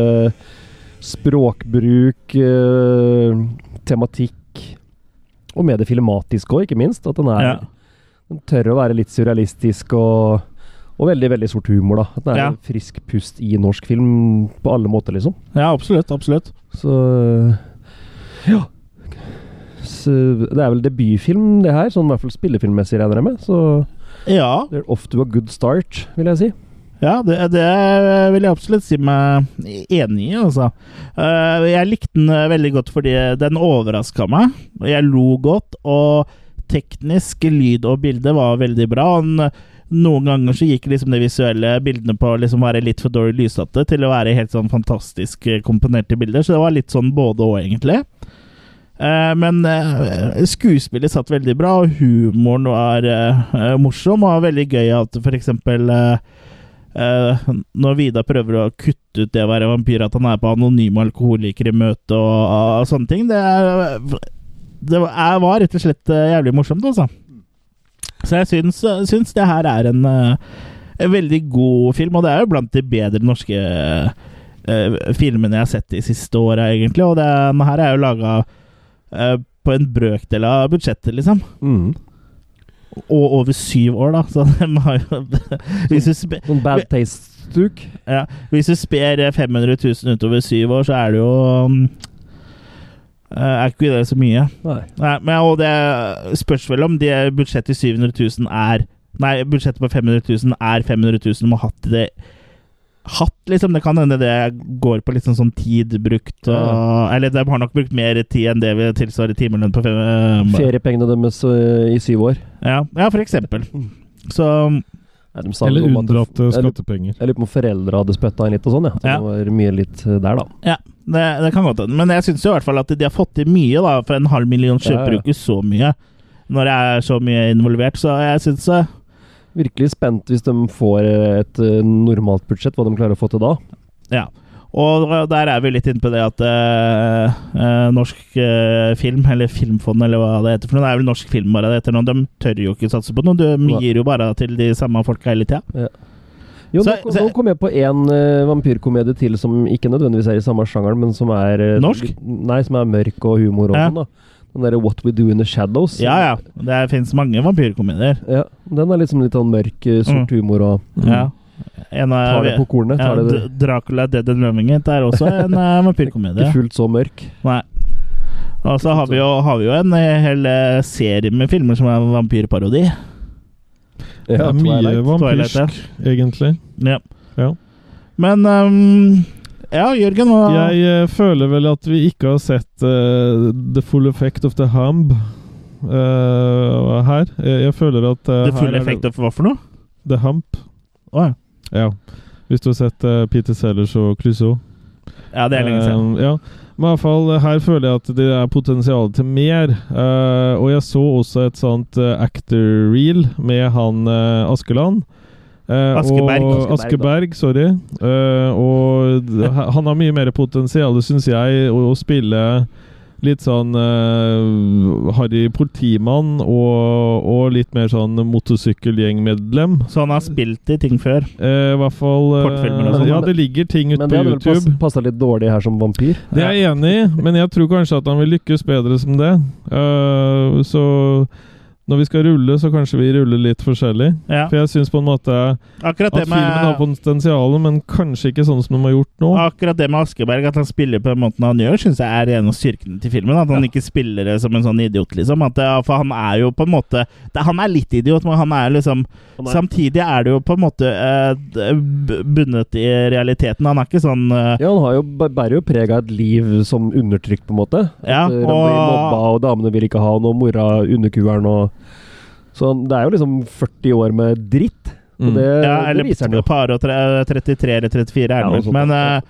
Speaker 3: språkbruk, eh, tematikk og med det filmatiske òg, ikke minst. At den, er,
Speaker 1: Ja.
Speaker 3: den tør å være litt surrealistisk og, og veldig veldig sort humor. da. At den er
Speaker 1: Ja.
Speaker 3: en frisk pust i norsk film på alle måter, liksom.
Speaker 1: ja, absolutt. Absolutt.
Speaker 3: Så ja. Så, det er vel debutfilm, det her. Sånn i hvert fall spillefilmmessig, regner jeg med. Så
Speaker 1: Ja,
Speaker 3: they're off to a good start, vil jeg si.
Speaker 1: ja det, det vil jeg absolutt si meg enig i, altså. Eh, jeg likte den eh, veldig godt fordi den overraska meg. Jeg lo godt, og teknisk lyd og bilde var veldig bra. Han, noen ganger så gikk liksom de visuelle bildene på å liksom være litt for dårlig lyssatte til å være helt sånn fantastisk eh, komponerte bilder, så det var litt sånn både og, egentlig. Eh, Men eh, skuespillet satt veldig bra, og humoren var eh, eh, morsom. Og veldig gøy at for eksempel eh, Eh, når Vidar prøver å kutte ut det å være vampyr, at han er på anonyme alkoholikere i møte og, og, og sånne ting, det, er, det var, er- var rett og slett eh, jævlig morsomt, altså. Så jeg syns, syns det her er en, eh, en veldig god film, og det er jo blant de bedre norske eh, filmene jeg har sett de siste åra, egentlig. Og den her er jo laga på en brøkdel av budsjettet, liksom. Og over syv år, da. Så (laughs) de har jo Hvis du spe-
Speaker 3: Sånn bad taste-stuk.
Speaker 1: ja. Hvis du sper eh, 500 000 utover syv år, så er det jo um, eh, Er ikke det så mye?
Speaker 3: Nei.
Speaker 1: Nei, men, og det spørs vel om det budsjettet i 700 000 er Nei, budsjettet på 500 000 er 500 000 de har hatt i det. Hatt, liksom. Det kan hende det går på litt sånn, sånn tid brukt og Eller de har nok brukt mer tid enn det vi tilsvarer timelønn på fem... eh,
Speaker 3: Feriepengene deres øh, i syv år.
Speaker 1: Ja, ja, for eksempel. Så um,
Speaker 3: Nei, de sa
Speaker 2: Eller
Speaker 3: noe om at-
Speaker 2: unndratte
Speaker 3: jeg lurer-
Speaker 2: skattepenger.
Speaker 3: Jeg lurer på om foreldre hadde spytta inn litt og sånn, ja. Så
Speaker 1: Ja.
Speaker 3: det var mye litt øh, der, da.
Speaker 1: ja, det, det kan godt hende. Men jeg syns i hvert fall at de har fått til mye, da. For en halv million
Speaker 3: Ja,
Speaker 1: kjøper
Speaker 3: ja.
Speaker 1: jo ikke så mye når det er så mye involvert, så jeg syns eh,
Speaker 3: Virkelig spent hvis de får øh, et øh, normalt budsjett, hva de klarer å få til da.
Speaker 1: Ja. Og der er vi litt inne på det at eh, eh, norsk eh, film, eller Filmfond, eller hva det heter for noe, det er vel norsk film bare det heter nå, de tør jo ikke satse på noe. De
Speaker 3: Nei.
Speaker 1: gir jo bare til de samme folka hele tida.
Speaker 3: Jo,
Speaker 1: Så-
Speaker 3: nå, kom-
Speaker 1: så-
Speaker 3: nå kom jeg på én vampyrkomedie til som ikke nødvendigvis er i samme sjangeren, men som er øh,
Speaker 1: Norsk?
Speaker 3: litt- Nei, som er mørk og humor og
Speaker 1: Ja.
Speaker 3: sånn, da. Den derre What We Do In The Shadows.
Speaker 1: Ja ja, det fins mange vampyrkomedier.
Speaker 3: Ja, Den er liksom litt sånn mørk, øh, sort humor og
Speaker 1: Ja. En av,
Speaker 3: tar det på
Speaker 1: Mm.
Speaker 3: kornet.
Speaker 1: ja,
Speaker 3: Tar det
Speaker 1: D- Dracula Dead and Loving It er også en eh,
Speaker 3: (laughs) ikke
Speaker 1: vampyrkomedie.
Speaker 3: fullt så mørk.
Speaker 1: Nei. Og så har vi, jo, har vi jo en eh, hel eh, serie med filmer som er vampyrparodi.
Speaker 2: Det er mye
Speaker 3: Twilight.
Speaker 2: vampyrsk, egentlig.
Speaker 1: Ja.
Speaker 2: Ja.
Speaker 1: Men ehm, Ja, Jørgen, hva
Speaker 2: Jeg eh, føler vel at vi ikke har sett eh, the full effect of the humb eh, her. Jeg, jeg føler at eh,
Speaker 1: Det
Speaker 2: her
Speaker 1: fulle
Speaker 2: er det-
Speaker 1: effekt av hva for noe?
Speaker 2: The hump.
Speaker 1: Å, ja.
Speaker 2: Ja. Hvis du har sett eh, Peter Sellers og Clouseau.
Speaker 1: ja, det er lenge siden.
Speaker 2: Eh, ja. Men i hvert fall, her føler jeg at det er potensial til mer. Eh, og jeg så også et sånt eh, actor-reel med han eh, Askeland. Eh,
Speaker 1: Askeberg.
Speaker 2: Og, Askeberg,
Speaker 3: Askeberg,
Speaker 2: sorry. Eh, og
Speaker 1: (laughs)
Speaker 2: d- han har mye mer potensial, syns jeg, å, å spille litt sånn eh, harry politimann og, og litt mer sånn motorsykkelgjengmedlem.
Speaker 1: Så han har spilt i ting før.
Speaker 2: Eh, I hvert fall eh,
Speaker 1: Kortfilmer og sånn.
Speaker 2: Ja, det ligger ting ute
Speaker 3: Men det
Speaker 2: på
Speaker 3: hadde
Speaker 2: YouTube.
Speaker 3: vel passa litt dårlig her som vampyr.
Speaker 2: Det er jeg enig i, men jeg tror kanskje at han vil lykkes bedre som det. Eh, så når vi skal rulle, så kanskje vi ruller litt forskjellig.
Speaker 1: Ja.
Speaker 2: For jeg syns på en måte at
Speaker 1: Akkurat det
Speaker 2: filmen har
Speaker 1: med
Speaker 2: potensial, men kanskje ikke sånn som de har gjort nå.
Speaker 1: Akkurat det med Askeberg, at han spiller på den måten han gjør, syns jeg er en av styrkene til filmen. At han ikke spiller det som en sånn idiot, liksom. At, eh, for han er jo på en måte det- Han er litt idiot, men han er liksom
Speaker 3: Han er-
Speaker 1: Samtidig er det jo på en måte eh, d- b- bundet i realiteten. Han er ikke sånn eh,
Speaker 3: Ja, han har jo, bæ- bærer jo preg av et liv som undertrykt, på en måte.
Speaker 1: Ja,
Speaker 3: At, eh, han blir
Speaker 1: og-
Speaker 3: mobba, og damene vil ikke ha han, og mora underkueren og Så han, det er jo liksom 40 år med dritt. Og
Speaker 2: Mm.
Speaker 3: det,
Speaker 1: Ja, eller
Speaker 3: Eh, det viser han jo.
Speaker 1: par og tre, 33 eller 34 er
Speaker 3: Ja,
Speaker 1: det
Speaker 3: noe
Speaker 1: vel.
Speaker 3: sånt,
Speaker 1: Men
Speaker 3: ja.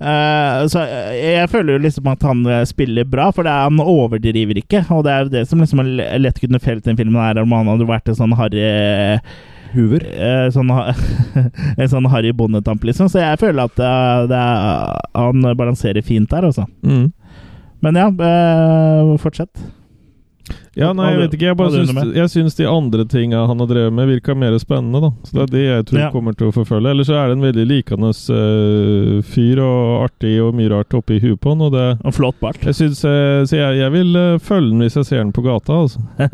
Speaker 1: eh, eh, så eh, jeg føler jo liksom at han eh, spiller bra, for det er, han overdriver ikke. Og det er jo det som liksom er le- lett kunne felt den filmen her, om han hadde vært en sånn harry Hoover? sånn, ha- (laughs) en sånn harry bondetamp, liksom. Så jeg føler at eh, det er, han balanserer fint der, altså.
Speaker 2: Mm.
Speaker 1: Men ja, eh, fortsett.
Speaker 2: Ja, nei, jeg vet ikke. Jeg
Speaker 1: Hva
Speaker 2: bare
Speaker 1: driver du
Speaker 2: syns,
Speaker 1: med?
Speaker 2: jeg syns de andre tinga han har drevet med, virka mer spennende, da. Så det er det jeg tror
Speaker 1: Ja.
Speaker 2: kommer til å forfølge. Ellers så er det en veldig likende eh, fyr, og artig og mye rart oppi huet på han, og det
Speaker 1: Og flott bart.
Speaker 2: jeg synes, eh, Så jeg, jeg vil eh, følge den hvis jeg ser den på gata, altså.
Speaker 1: (laughs)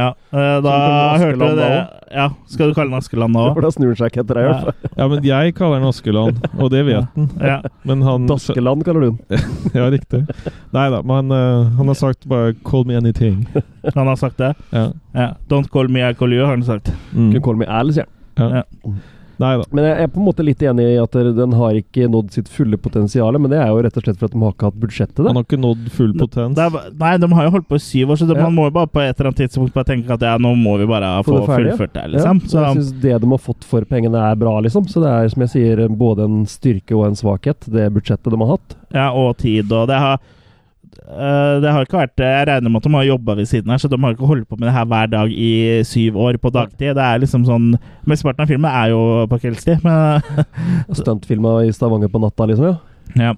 Speaker 1: ja, eh, da
Speaker 3: kaller
Speaker 1: hørte
Speaker 3: Askeland
Speaker 1: du det.
Speaker 3: da
Speaker 1: Ja, skal du kalle den Askeland nå
Speaker 3: For da snur han seg ikke etter deg. i hvert fall.
Speaker 2: Ja, men jeg kaller den Askeland, og det vet den.
Speaker 1: Ja.
Speaker 2: Men han
Speaker 3: Daskeland, kaller du den.
Speaker 2: (laughs) Mm. Ja, riktig. Nei da, men eh, han har sagt bare 'call me anything'.
Speaker 1: (laughs) Han har sagt det?
Speaker 2: Ja.
Speaker 1: Ja. Don't call me, I call you, har han sagt.
Speaker 3: Kunne
Speaker 2: Mm.
Speaker 3: call me Al, sier han.
Speaker 2: Nei da.
Speaker 3: Men jeg er på en måte litt enig i at den har ikke nådd sitt fulle potensial, men det er jo rett og slett for at de har ikke hatt budsjett til det.
Speaker 2: Han har ikke nådd full potens.
Speaker 1: Det er, nei, de har jo holdt på i syv år, så de,
Speaker 3: Ja.
Speaker 1: man må jo bare på et eller annet tidspunkt bare tenke at ja, nå må vi bare få
Speaker 3: Få det ferdig, ja.
Speaker 1: fullført det, her, liksom.
Speaker 3: Ja, så jeg syns det de har fått for pengene, er bra, liksom. Så det er som jeg sier, både en styrke og en svakhet, det budsjettet de har hatt.
Speaker 1: Så, ja, og tid, og det har øh, det har ikke vært Jeg regner med at de har jobba ved siden her, så de har ikke holdt på med det her hver dag i syv år på dagtid. Det er liksom sånn Mesteparten av filmen er jo på kveldstid, men (laughs)
Speaker 3: Stuntfilma i Stavanger på natta, liksom, ja.
Speaker 1: Ja.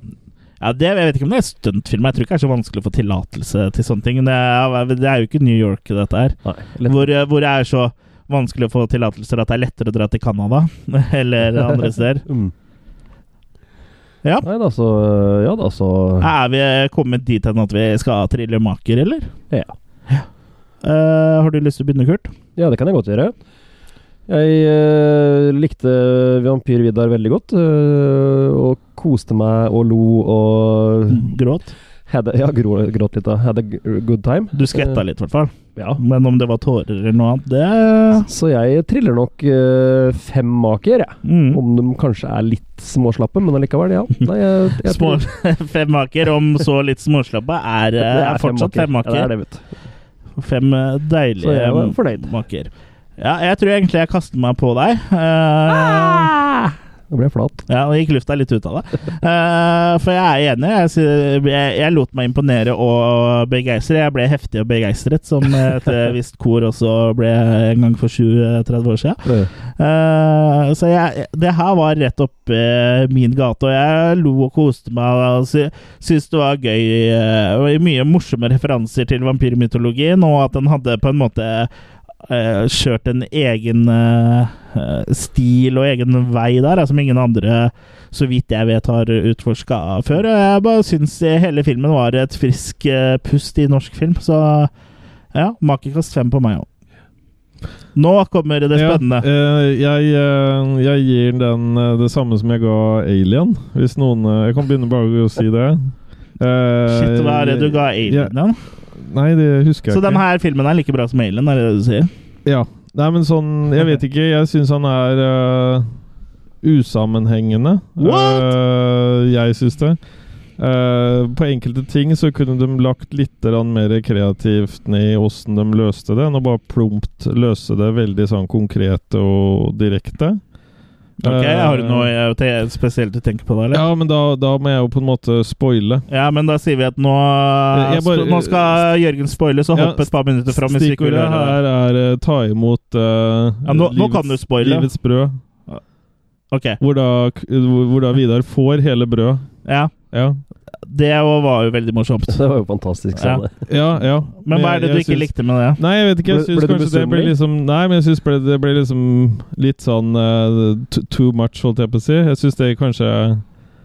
Speaker 1: Ja, det, jeg vet ikke om det er stuntfilm. Jeg tror ikke det er så vanskelig å få tillatelse til sånne ting. Det er, det er jo ikke New York, dette her.
Speaker 3: Nei, lett.
Speaker 1: Hvor, eh, hvor det er så vanskelig å få tillatelser at det er lettere å dra til Canada (laughs) eller andre steder.
Speaker 3: Mm.
Speaker 1: Ja.
Speaker 3: Nei da, så Ja da, så
Speaker 1: Er vi eh, kommet dit hen at vi skal trille maker, eller?
Speaker 3: Ja.
Speaker 1: Eh, har du lyst til å begynne, Kurt?
Speaker 3: Ja, det kan jeg godt gjøre. Jeg eh, likte Vampyr Vidar veldig godt, eh, og koste meg og lo og
Speaker 1: Gråt?
Speaker 3: Hadde, ja, gro, gråt litt da. Had a g- good time.
Speaker 1: Du skvetta litt, i hvert fall.
Speaker 3: Eh, ja.
Speaker 1: Men om det var tårer eller noe annet, det
Speaker 3: Så jeg triller nok eh, fem maker, jeg.
Speaker 1: mm.
Speaker 3: Om de kanskje er litt småslappe, men allikevel,
Speaker 1: (laughs)
Speaker 3: ja. Nei, jeg, jeg
Speaker 1: Små,
Speaker 3: tror-
Speaker 1: (laughs) femmaker, om så litt småslappa, er, eh,
Speaker 3: Det
Speaker 1: er fortsatt
Speaker 3: Ja, det er
Speaker 1: femmaker.
Speaker 3: det, vet du.
Speaker 1: Fem eh,
Speaker 3: Så
Speaker 1: deilige
Speaker 3: jeg var fornøyd.
Speaker 1: maker. Ja, jeg tror egentlig jeg kaster meg på deg. Eh,
Speaker 3: Nå ble jeg flat. (laughs)
Speaker 1: Ja, og gikk lufta litt ut av det. Eh, for jeg er enig. Jeg, sy- jeg, jeg lot meg imponere og begeistre. Jeg ble heftig og begeistret, som et eh, visst kor også ble en gang for 20-30 år siden. Eh, så jeg, det her var rett opp eh, min gate, og jeg lo og koste meg. Og sy syntes det var gøy. eh, og mye morsomme referanser til vampyrmytologien, og at den hadde på en måte eh, kjørt en egen eh, eh, stil og egen vei der, eh, som ingen andre, så vidt jeg vet, har utforska før. Og jeg bare syns hele filmen var et frisk eh, pust i norsk film, så ja, makekast fem på meg òg. Nå kommer det spennende.
Speaker 2: Ja, eh, jeg, eh, jeg gir den eh, det samme som jeg ga Alien. Hvis noen eh, Jeg kan begynne bare å si det. Eh,
Speaker 1: Shit, hva er det du ga
Speaker 2: ja,
Speaker 1: Alien? da?
Speaker 2: Nei, det husker jeg
Speaker 1: Så
Speaker 2: ikke.
Speaker 1: den her filmen er like bra som Alien, er det det du sier?
Speaker 2: Ja. Nei, men sånn Jeg vet ikke. Jeg syns han er eh, usammenhengende.
Speaker 1: What?
Speaker 2: Eh, jeg syns det. Eh, på enkelte ting så kunne de lagt litt grann mer kreativt ned i åssen de løste det, enn å bare prompt løse det veldig sånn konkret og direkte.
Speaker 1: Ok,
Speaker 2: Eh,
Speaker 1: Har du noe eh, te- spesielt du tenker på da, eller?
Speaker 2: Ja, men da, da må jeg jo på en måte spoile.
Speaker 1: Ja. men da sier vi at nå, eh,
Speaker 2: Jeg bare-
Speaker 1: nå skal Jørgen spoile, så
Speaker 2: Ja,
Speaker 1: hopp et par minutter fram. hvis du ikke vil
Speaker 2: Stikkordet
Speaker 1: høre det.
Speaker 2: her er eh, ta imot eh,
Speaker 1: Ja, nå- nå kan du spoile.
Speaker 2: livets brød.
Speaker 1: Ok,
Speaker 2: Hvor da, k- hvor hvor da Vidar får hele brød.
Speaker 1: ja.
Speaker 2: Ja,
Speaker 1: Det jo var jo veldig morsomt.
Speaker 3: Det var jo fantastisk.
Speaker 1: Ja.
Speaker 3: Sanne.
Speaker 2: ja. ja.
Speaker 1: Men hva er det du
Speaker 2: jeg
Speaker 1: ikke
Speaker 2: syns-
Speaker 1: likte med det?
Speaker 2: Nei, jeg vet ikke. Jeg
Speaker 3: Ble-
Speaker 2: syns
Speaker 3: ble du
Speaker 2: kanskje det ble
Speaker 3: misunnelig?
Speaker 2: liksom Nei, men jeg syns ble- det ble liksom litt sånn eh, t- too much, holdt jeg på å si. Jeg syns det kanskje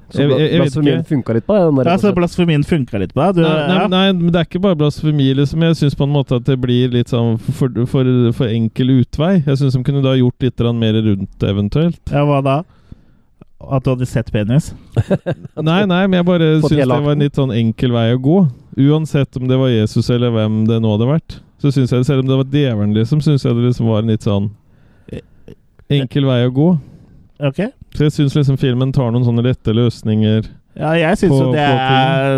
Speaker 3: Så
Speaker 2: Jeg- jeg- jeg vet
Speaker 3: blasfemien
Speaker 2: ikke.
Speaker 3: funka litt på det. Den der,
Speaker 1: Ja, så Blasfemien funka litt på deg? Du,
Speaker 2: Nei, nei,
Speaker 1: ja.
Speaker 2: nei, men det er ikke bare blasfemi, liksom. Jeg syns på en måte at det blir litt sånn for, for, for enkel utvei. Jeg syns de kunne da gjort litt grann mer rundt det, eventuelt.
Speaker 1: ja, hva da? At du hadde sett penis?
Speaker 2: Nei, nei, men jeg bare
Speaker 3: Fått
Speaker 2: syns det
Speaker 3: hele
Speaker 2: var en
Speaker 3: akten.
Speaker 2: litt sånn enkel vei å gå. Uansett om det var Jesus eller hvem det nå hadde vært. Så synes jeg, Selv om det var djevelen, liksom, syns jeg det liksom var en litt sånn
Speaker 1: Eh,
Speaker 2: enkel vei å gå.
Speaker 1: Ok?
Speaker 2: Så jeg syns liksom filmen tar noen sånne lette løsninger.
Speaker 1: Ja, jeg syns
Speaker 2: På-
Speaker 1: jo det
Speaker 2: på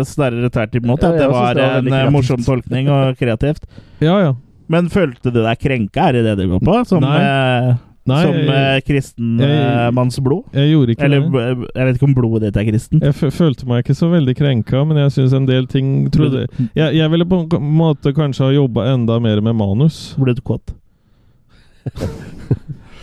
Speaker 1: er snarere tvert imot.
Speaker 3: Ja,
Speaker 1: At det
Speaker 3: jeg synes
Speaker 1: var
Speaker 3: det var
Speaker 1: en
Speaker 3: veldig
Speaker 1: eh,
Speaker 3: kreativt.
Speaker 1: morsom tolkning og kreativt.
Speaker 2: Ja, ja.
Speaker 1: Men følte du deg krenka? Er det det det går på? Som, eh,
Speaker 2: Nei,
Speaker 1: som eh,
Speaker 2: jeg,
Speaker 1: kristen
Speaker 2: jeg-
Speaker 1: eh, manns blod?
Speaker 2: jeg gjorde ikke
Speaker 1: Eller
Speaker 2: det.
Speaker 1: b- jeg vet ikke om blodet ditt er kristen.
Speaker 2: Jeg fø- følte meg ikke så veldig krenka, men jeg syns en del ting trodde jeg, jeg ville på en måte kanskje ha jobba enda mer med manus.
Speaker 1: Ble du kåt?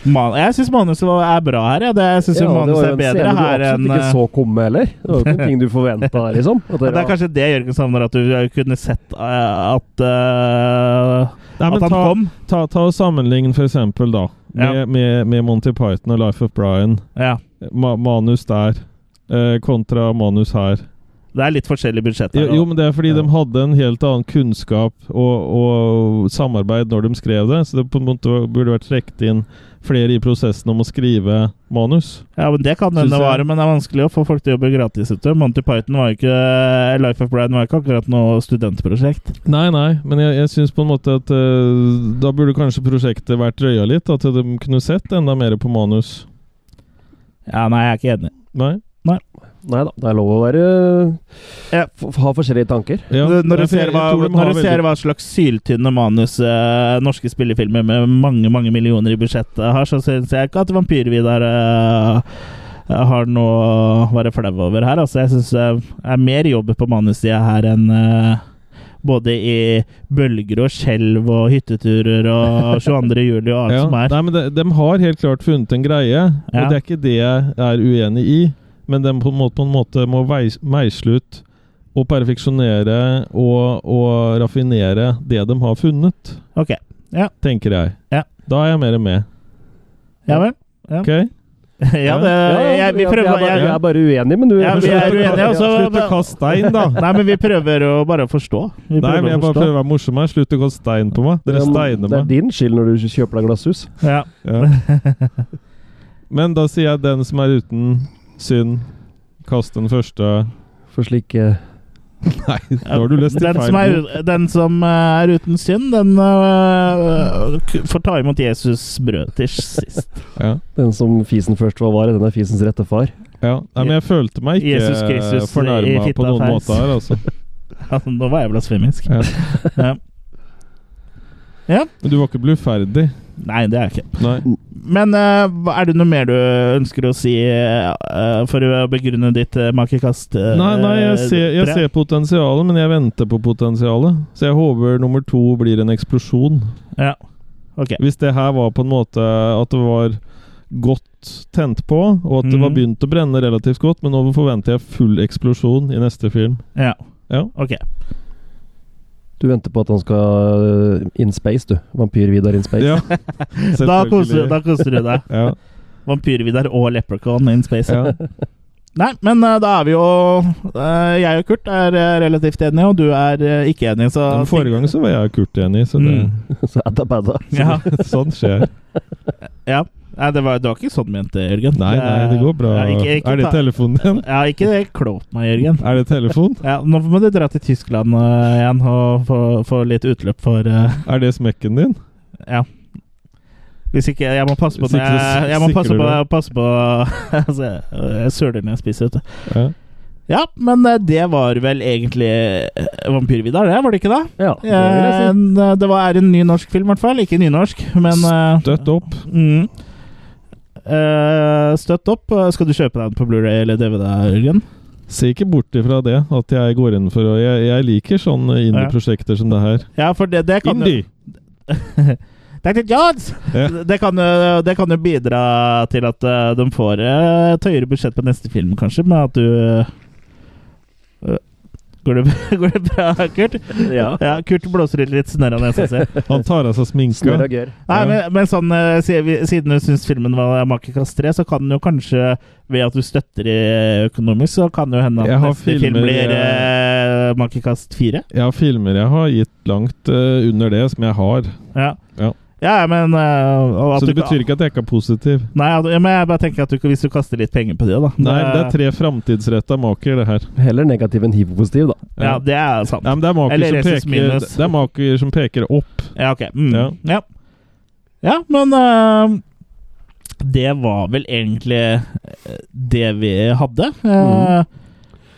Speaker 1: Man, jeg syns manuset var- er bra her. Ja. Det, jeg syns jo manuset er bedre
Speaker 3: du
Speaker 1: her enn
Speaker 3: absolutt ikke
Speaker 1: eh,
Speaker 3: så komme heller. Det var jo ikke noen ting du forventa, liksom. At
Speaker 1: Det
Speaker 3: dere
Speaker 1: er kanskje det Jørgen savner, at du kunne sett eh, at, eh,
Speaker 2: Nei, men
Speaker 1: at han
Speaker 2: ta,
Speaker 1: kom.
Speaker 2: ta, ta og Sammenlign for eksempel da, med,
Speaker 1: Ja.
Speaker 2: med, med Monty Python og Life of Brian.
Speaker 1: Ja.
Speaker 2: Ma, manus der eh, kontra manus her.
Speaker 1: Det er litt forskjellig budsjett her.
Speaker 2: Jo,
Speaker 1: da.
Speaker 2: jo, men det er fordi de hadde en helt annen kunnskap og, og samarbeid når de skrev det, så det på en måte burde vært trukket inn flere i prosessen om å skrive manus.
Speaker 1: Ja, men Det kan
Speaker 2: Synes
Speaker 1: hende
Speaker 2: jeg-
Speaker 1: være, men det er vanskelig å få folk til å jobbe gratis. vet du. Monty Python var jo ikke eh, Life of Brian var ikke akkurat noe studentprosjekt.
Speaker 2: Nei, nei, men jeg, jeg syns på en måte at eh, da burde kanskje prosjektet vært røya litt, at de kunne sett enda mer på manus.
Speaker 1: Ja, Nei, jeg er ikke enig.
Speaker 2: Nei?
Speaker 3: Nei da, det er lov å være
Speaker 1: Ja.
Speaker 3: f ha forskjellige tanker.
Speaker 2: Ja,
Speaker 1: når
Speaker 2: jeg-
Speaker 1: du, ser
Speaker 2: jeg
Speaker 1: hva,
Speaker 2: tror de har
Speaker 1: når du
Speaker 2: veldig-
Speaker 1: ser hva slags syltynne manus eh, norske spillefilmer med mange mange millioner i budsjettet har, så syns jeg ikke at Vampyr-Vidar eh, har noe å være flau over her. Altså, Jeg syns det er mer jobb på manussida her enn eh, både i bølger og skjelv og hytteturer og 22. juli og alt
Speaker 2: ja.
Speaker 1: som er.
Speaker 2: Nei, men de, de har helt klart funnet en greie,
Speaker 1: Ja.
Speaker 2: og det er ikke det jeg er uenig i. Men de på en måte, på en måte må veis- meisle ut og perfeksjonere og, og raffinere det de har funnet,
Speaker 1: Ok.
Speaker 2: tenker jeg.
Speaker 1: Ja.
Speaker 2: Da er jeg mer med.
Speaker 1: Ja vel.
Speaker 2: Ok?
Speaker 1: (laughs) Ja, det, Eh, jeg, vi
Speaker 3: jeg, er
Speaker 1: prøver
Speaker 3: bare,
Speaker 1: jeg,
Speaker 3: jeg er bare uenig, men du
Speaker 1: Ja, vi er uenige, altså. og så-
Speaker 2: Slutt å kaste stein, da!
Speaker 1: (laughs) Nei, men vi prøver å bare forstå. Vi
Speaker 2: Nei, men
Speaker 1: prøver
Speaker 2: jeg
Speaker 1: å
Speaker 2: bare
Speaker 1: forstå.
Speaker 2: prøver å være morsom her. Slutt å kaste stein på meg. Dere steiner
Speaker 3: Det er
Speaker 2: meg.
Speaker 3: din skyld når du kjøper deg glasshus.
Speaker 1: Ja.
Speaker 2: Ja.
Speaker 1: (laughs)
Speaker 2: Men da sier jeg den som er uten synd, kast den første
Speaker 3: For slik eh,
Speaker 2: Nei, nå har du lest i
Speaker 1: Den
Speaker 2: feil
Speaker 1: som er,
Speaker 2: bok.
Speaker 1: den som eh, er uten synd, den eh, k- får ta imot Jesus brød til sist. (laughs)
Speaker 2: Ja.
Speaker 3: Den som fisen først var var, den er fisens rette far.
Speaker 2: Ja. Nei, men jeg følte meg
Speaker 1: Jesus
Speaker 2: ikke
Speaker 1: Kristus i
Speaker 2: fornærma
Speaker 1: fitta
Speaker 2: på noen
Speaker 1: feis.
Speaker 2: måte her, altså.
Speaker 1: Altså, nå var jeg blasfemisk.
Speaker 2: Ja.
Speaker 1: Ja.
Speaker 2: Men du var ikke bluferdig.
Speaker 1: Nei, det er jeg ikke.
Speaker 2: Nei.
Speaker 1: Men eh, hva- er det noe mer du ønsker å si eh, for å begrunne ditt uh, makekast? eh,
Speaker 2: Nei, nei, jeg ser, jeg
Speaker 1: tre?
Speaker 2: ser potensialet, men jeg venter på potensialet. Så jeg håper nummer to blir en eksplosjon.
Speaker 1: Ja. Ok.
Speaker 2: Hvis det her var på en måte at det var godt tent på, og at det var
Speaker 1: Mhm.
Speaker 2: begynt å brenne relativt godt, men nå forventer jeg full eksplosjon i neste film.
Speaker 1: Ja.
Speaker 2: Ja.
Speaker 1: Ok.
Speaker 3: Du venter på at han skal øh, in space, du. Vampyr-Vidar in space.
Speaker 2: Ja,
Speaker 1: (laughs) Da
Speaker 2: selvfølgelig.
Speaker 1: koser, da koser du
Speaker 2: (laughs)
Speaker 1: deg. (laughs)
Speaker 2: Ja,
Speaker 1: Vampyr-Vidar og Leprechaun in space.
Speaker 2: ja.
Speaker 1: Nei, men eh, da er vi jo eh, Jeg og Kurt er eh, relativt enige, og du er eh, ikke enig, så
Speaker 2: Men forrige gang så var jeg og Kurt enig, så det,
Speaker 3: (laughs)
Speaker 1: Mm.
Speaker 3: Så adda-badda.
Speaker 1: Ja.
Speaker 2: (laughs) sånn skjer.
Speaker 1: ja. Nei, det var, det var ikke sånn ment, det, Jørgen.
Speaker 2: Nei, nei, det går bra.
Speaker 1: Ja, ikke, ikke
Speaker 2: Er det
Speaker 1: ta-
Speaker 2: telefonen din?
Speaker 1: Ja, ikke det klå på meg, Jørgen.
Speaker 2: Er det telefon?
Speaker 1: Ja, nå må du dra til Tyskland eh, igjen og få, få litt utløp for eh,
Speaker 2: Er det smekken din?
Speaker 1: Ja. Hvis ikke Jeg må passe på når
Speaker 2: Sikre-
Speaker 1: jeg, jeg må passe
Speaker 2: sikrer
Speaker 1: på,
Speaker 2: du.
Speaker 1: passe på (laughs) altså, jeg- Jeg søler når jeg spiser, vet du.
Speaker 2: Ja.
Speaker 1: Ja, men eh, det var vel egentlig eh, Vampyr-Vidar, det, var det ikke det?
Speaker 3: Ja, det vil
Speaker 1: Eh,
Speaker 3: jeg si.
Speaker 1: en, eh, det var, er en ny norsk film, i hvert fall. Ikke nynorsk, men eh,
Speaker 2: Dødt opp.
Speaker 1: mm. Eh, Støtt opp. Eh, Skal du kjøpe den på Blu-ray eller DVD, Jørgen?
Speaker 2: Se ikke bort ifra det, at jeg går inn for å Jeg, jeg liker sånne indie-prosjekter som det her.
Speaker 1: Ja, for det, det kan
Speaker 2: Indie!
Speaker 1: Dr. Jones!
Speaker 2: Ja.
Speaker 1: Det kan, jo, det kan jo bidra til at eh, de får eh, et høyere budsjett på neste film, kanskje, med at du eh, Går det, (laughs) går det bra, Kurt?
Speaker 3: Ja.
Speaker 1: Kurt blåser ut litt snørr av nesa si.
Speaker 2: Han tar av seg sminka.
Speaker 3: Snurr og gørr.
Speaker 1: Nei,
Speaker 2: Ja.
Speaker 1: men, men sånn, eh, sier vi- siden du syns filmen var makekast 3, så kan den jo kanskje, ved at du støtter i økonomisk, så kan det jo hende
Speaker 2: Jeg
Speaker 1: at
Speaker 2: har
Speaker 1: neste film
Speaker 2: filmer,
Speaker 1: blir
Speaker 2: eh,
Speaker 1: eh, makekast 4.
Speaker 2: Jeg har filmer jeg har gitt langt eh, under det som jeg har.
Speaker 1: Ja.
Speaker 2: Ja.
Speaker 1: ja, men eh, og at
Speaker 2: Så
Speaker 1: du
Speaker 2: det
Speaker 1: ikke-
Speaker 2: betyr ikke at jeg ikke er positiv.
Speaker 1: Nei, at- ja, men jeg bare tenker at du, ikke- hvis du kaster litt penger på det, da
Speaker 2: Nei, det er tre framtidsretta maker, det her.
Speaker 3: Heller negativ enn hiv-positiv, da.
Speaker 1: Ja, det er sant.
Speaker 2: Nei, men det er maker,
Speaker 1: Eller
Speaker 2: som
Speaker 1: Jesus
Speaker 2: peker,
Speaker 1: minus.
Speaker 2: det er maker som peker opp.
Speaker 1: Ja, ok. Mm.
Speaker 2: Ja.
Speaker 1: Ja. ja. men eh, det var vel egentlig eh, det vi hadde. Eh,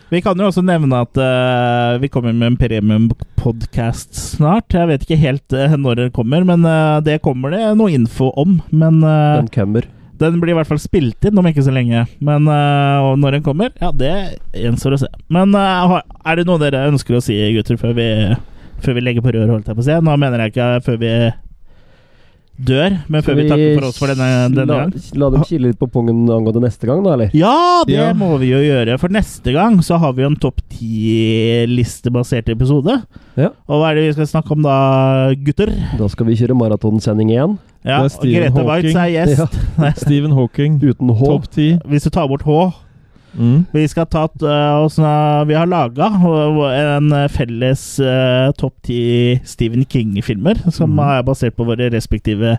Speaker 1: Vi kan jo også nevne at eh, vi kommer med en premium-podkast snart. Jeg vet ikke helt eh, når den kommer, men eh, det kommer det noe info om. Men eh,
Speaker 3: Den kømmer.
Speaker 1: den blir i hvert fall spilt inn om ikke så lenge. Men eh, og når den kommer, ja, det gjenstår å se. Men eh, har- er det noe dere ønsker å si, gutter, før vi, før vi legger på rør, holdt jeg på å si? Nå mener jeg ikke før vi dør, men før vi, takker for oss for denne, denne
Speaker 3: la,
Speaker 1: gang.
Speaker 3: La dem kile litt på pungen angående neste gang, da, eller?
Speaker 1: Ja, det
Speaker 2: Ja.
Speaker 1: må vi jo gjøre. For neste gang så har vi jo en topp ti-listebasert episode.
Speaker 3: Ja.
Speaker 1: Og hva er det vi skal snakke om da, gutter?
Speaker 3: Da skal vi kjøre maratonsending igjen.
Speaker 1: Ja,
Speaker 2: Det er
Speaker 1: og
Speaker 2: Stephen
Speaker 1: Grete
Speaker 2: Hawking.
Speaker 1: Waitz er gjest.
Speaker 3: Ja,
Speaker 2: Stephen Hawking,
Speaker 3: uten H.
Speaker 2: topp ti.
Speaker 1: Hvis du tar bort H,
Speaker 2: Mm.
Speaker 1: Vi skal ta t- øh, oss øh, Vi har laga en øh, felles øh, topp ti Stephen King-filmer, som er basert på våre respektive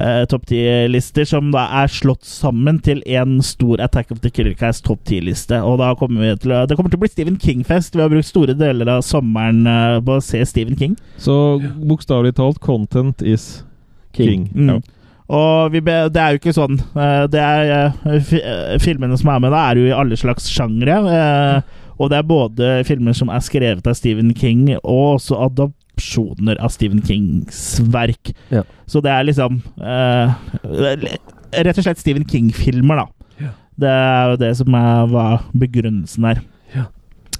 Speaker 1: øh, topp ti-lister, som da er slått sammen til én stor Attack of the Killer Cast topp ti-liste. Og da kommer vi til å Det kommer til å bli Stephen King-fest. Vi har brukt store deler av sommeren øh, på å se Stephen King.
Speaker 2: Så bokstavelig talt, content is king.
Speaker 1: Mm.
Speaker 2: Ja.
Speaker 1: Og vi be, det er jo ikke sånn. Eh, Det er, eh, fi- eh, filmene som er med, da er jo i alle slags sjangre. eh, Og det er både filmer som er skrevet av Stephen King, og også adopsjoner av Stephen Kings verk.
Speaker 3: Ja.
Speaker 1: Så det er liksom eh, det er Rett og slett Stephen King-filmer, da. Det er jo det som er, var begrunnelsen her.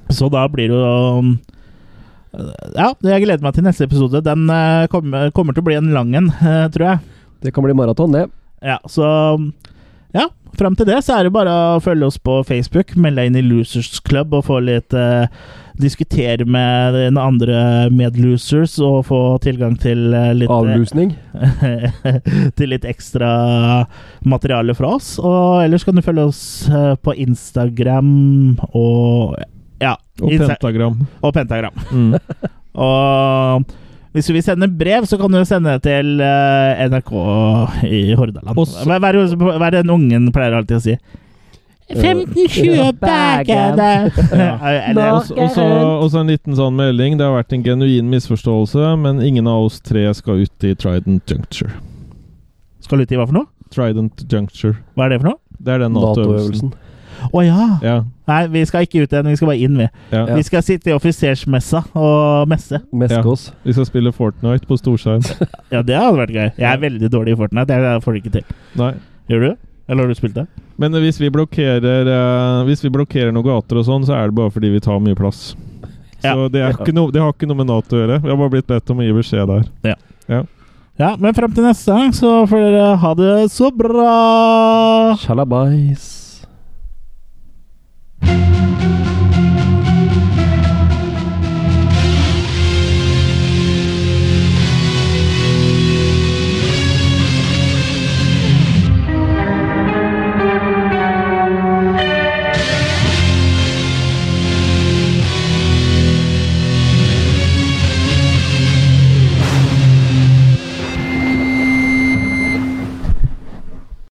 Speaker 1: Så da blir det jo um, Ja, jeg gleder meg til neste episode. Den eh, kommer, kommer til å bli en lang en, eh, tror jeg.
Speaker 3: Det kan bli maraton, det.
Speaker 1: Ja, så Ja, fram til det så er det bare å følge oss på Facebook, melde deg inn i Losers Club og få litt eh, Diskutere med den andre medlosers og få tilgang til eh, litt
Speaker 3: Avlusning.
Speaker 1: (laughs) til litt ekstra materiale fra oss. Og ellers kan du følge oss eh, på Instagram og Ja.
Speaker 2: Og
Speaker 1: Insta-
Speaker 2: pentagram.
Speaker 1: og Pentagram.
Speaker 2: Mm.
Speaker 1: Og hvis du vil sende brev, så kan du sende det til eh, NRK i Hordaland.
Speaker 2: Og så- (laughs)
Speaker 1: Hva hva er det hva er det den ungen pleier alltid å si? 15-20 bagene! Eh,
Speaker 2: Og så- og så- og så en liten sånn melding. Det har vært en genuin misforståelse, men ingen av oss tre skal ut i Trident Juncture.
Speaker 1: Skal du ut i hva for noe?
Speaker 2: Trident Juncture.
Speaker 1: Hva er det for noe?
Speaker 2: Det er den NATO-øvelsen.
Speaker 3: NATO-øvelsen.
Speaker 1: Å ja!
Speaker 2: Ja,
Speaker 1: Nei, vi skal ikke ut igjen, vi skal bare inn, vi.
Speaker 2: ja.
Speaker 1: Vi skal sitte i offisersmessa og messe.
Speaker 3: Meskås.
Speaker 2: Vi skal spille Fortnite på storskjerm. (laughs)
Speaker 1: Ja, det hadde vært gøy. Jeg er veldig dårlig i Fortnite. Jeg får det ikke til.
Speaker 2: Nei.
Speaker 1: Gjør du? Eller har du spilt det?
Speaker 2: Men hvis vi blokkerer eh, Hvis vi blokkerer noen gater og sånn, så er det bare fordi vi tar mye plass.
Speaker 1: Ja.
Speaker 2: Så det, er ikke noe- det har ikke noe med Nato å gjøre. Vi har bare blitt bedt om å gi beskjed der.
Speaker 1: Ja, men frem til neste gang så får dere ha det så bra!
Speaker 3: Shalabais.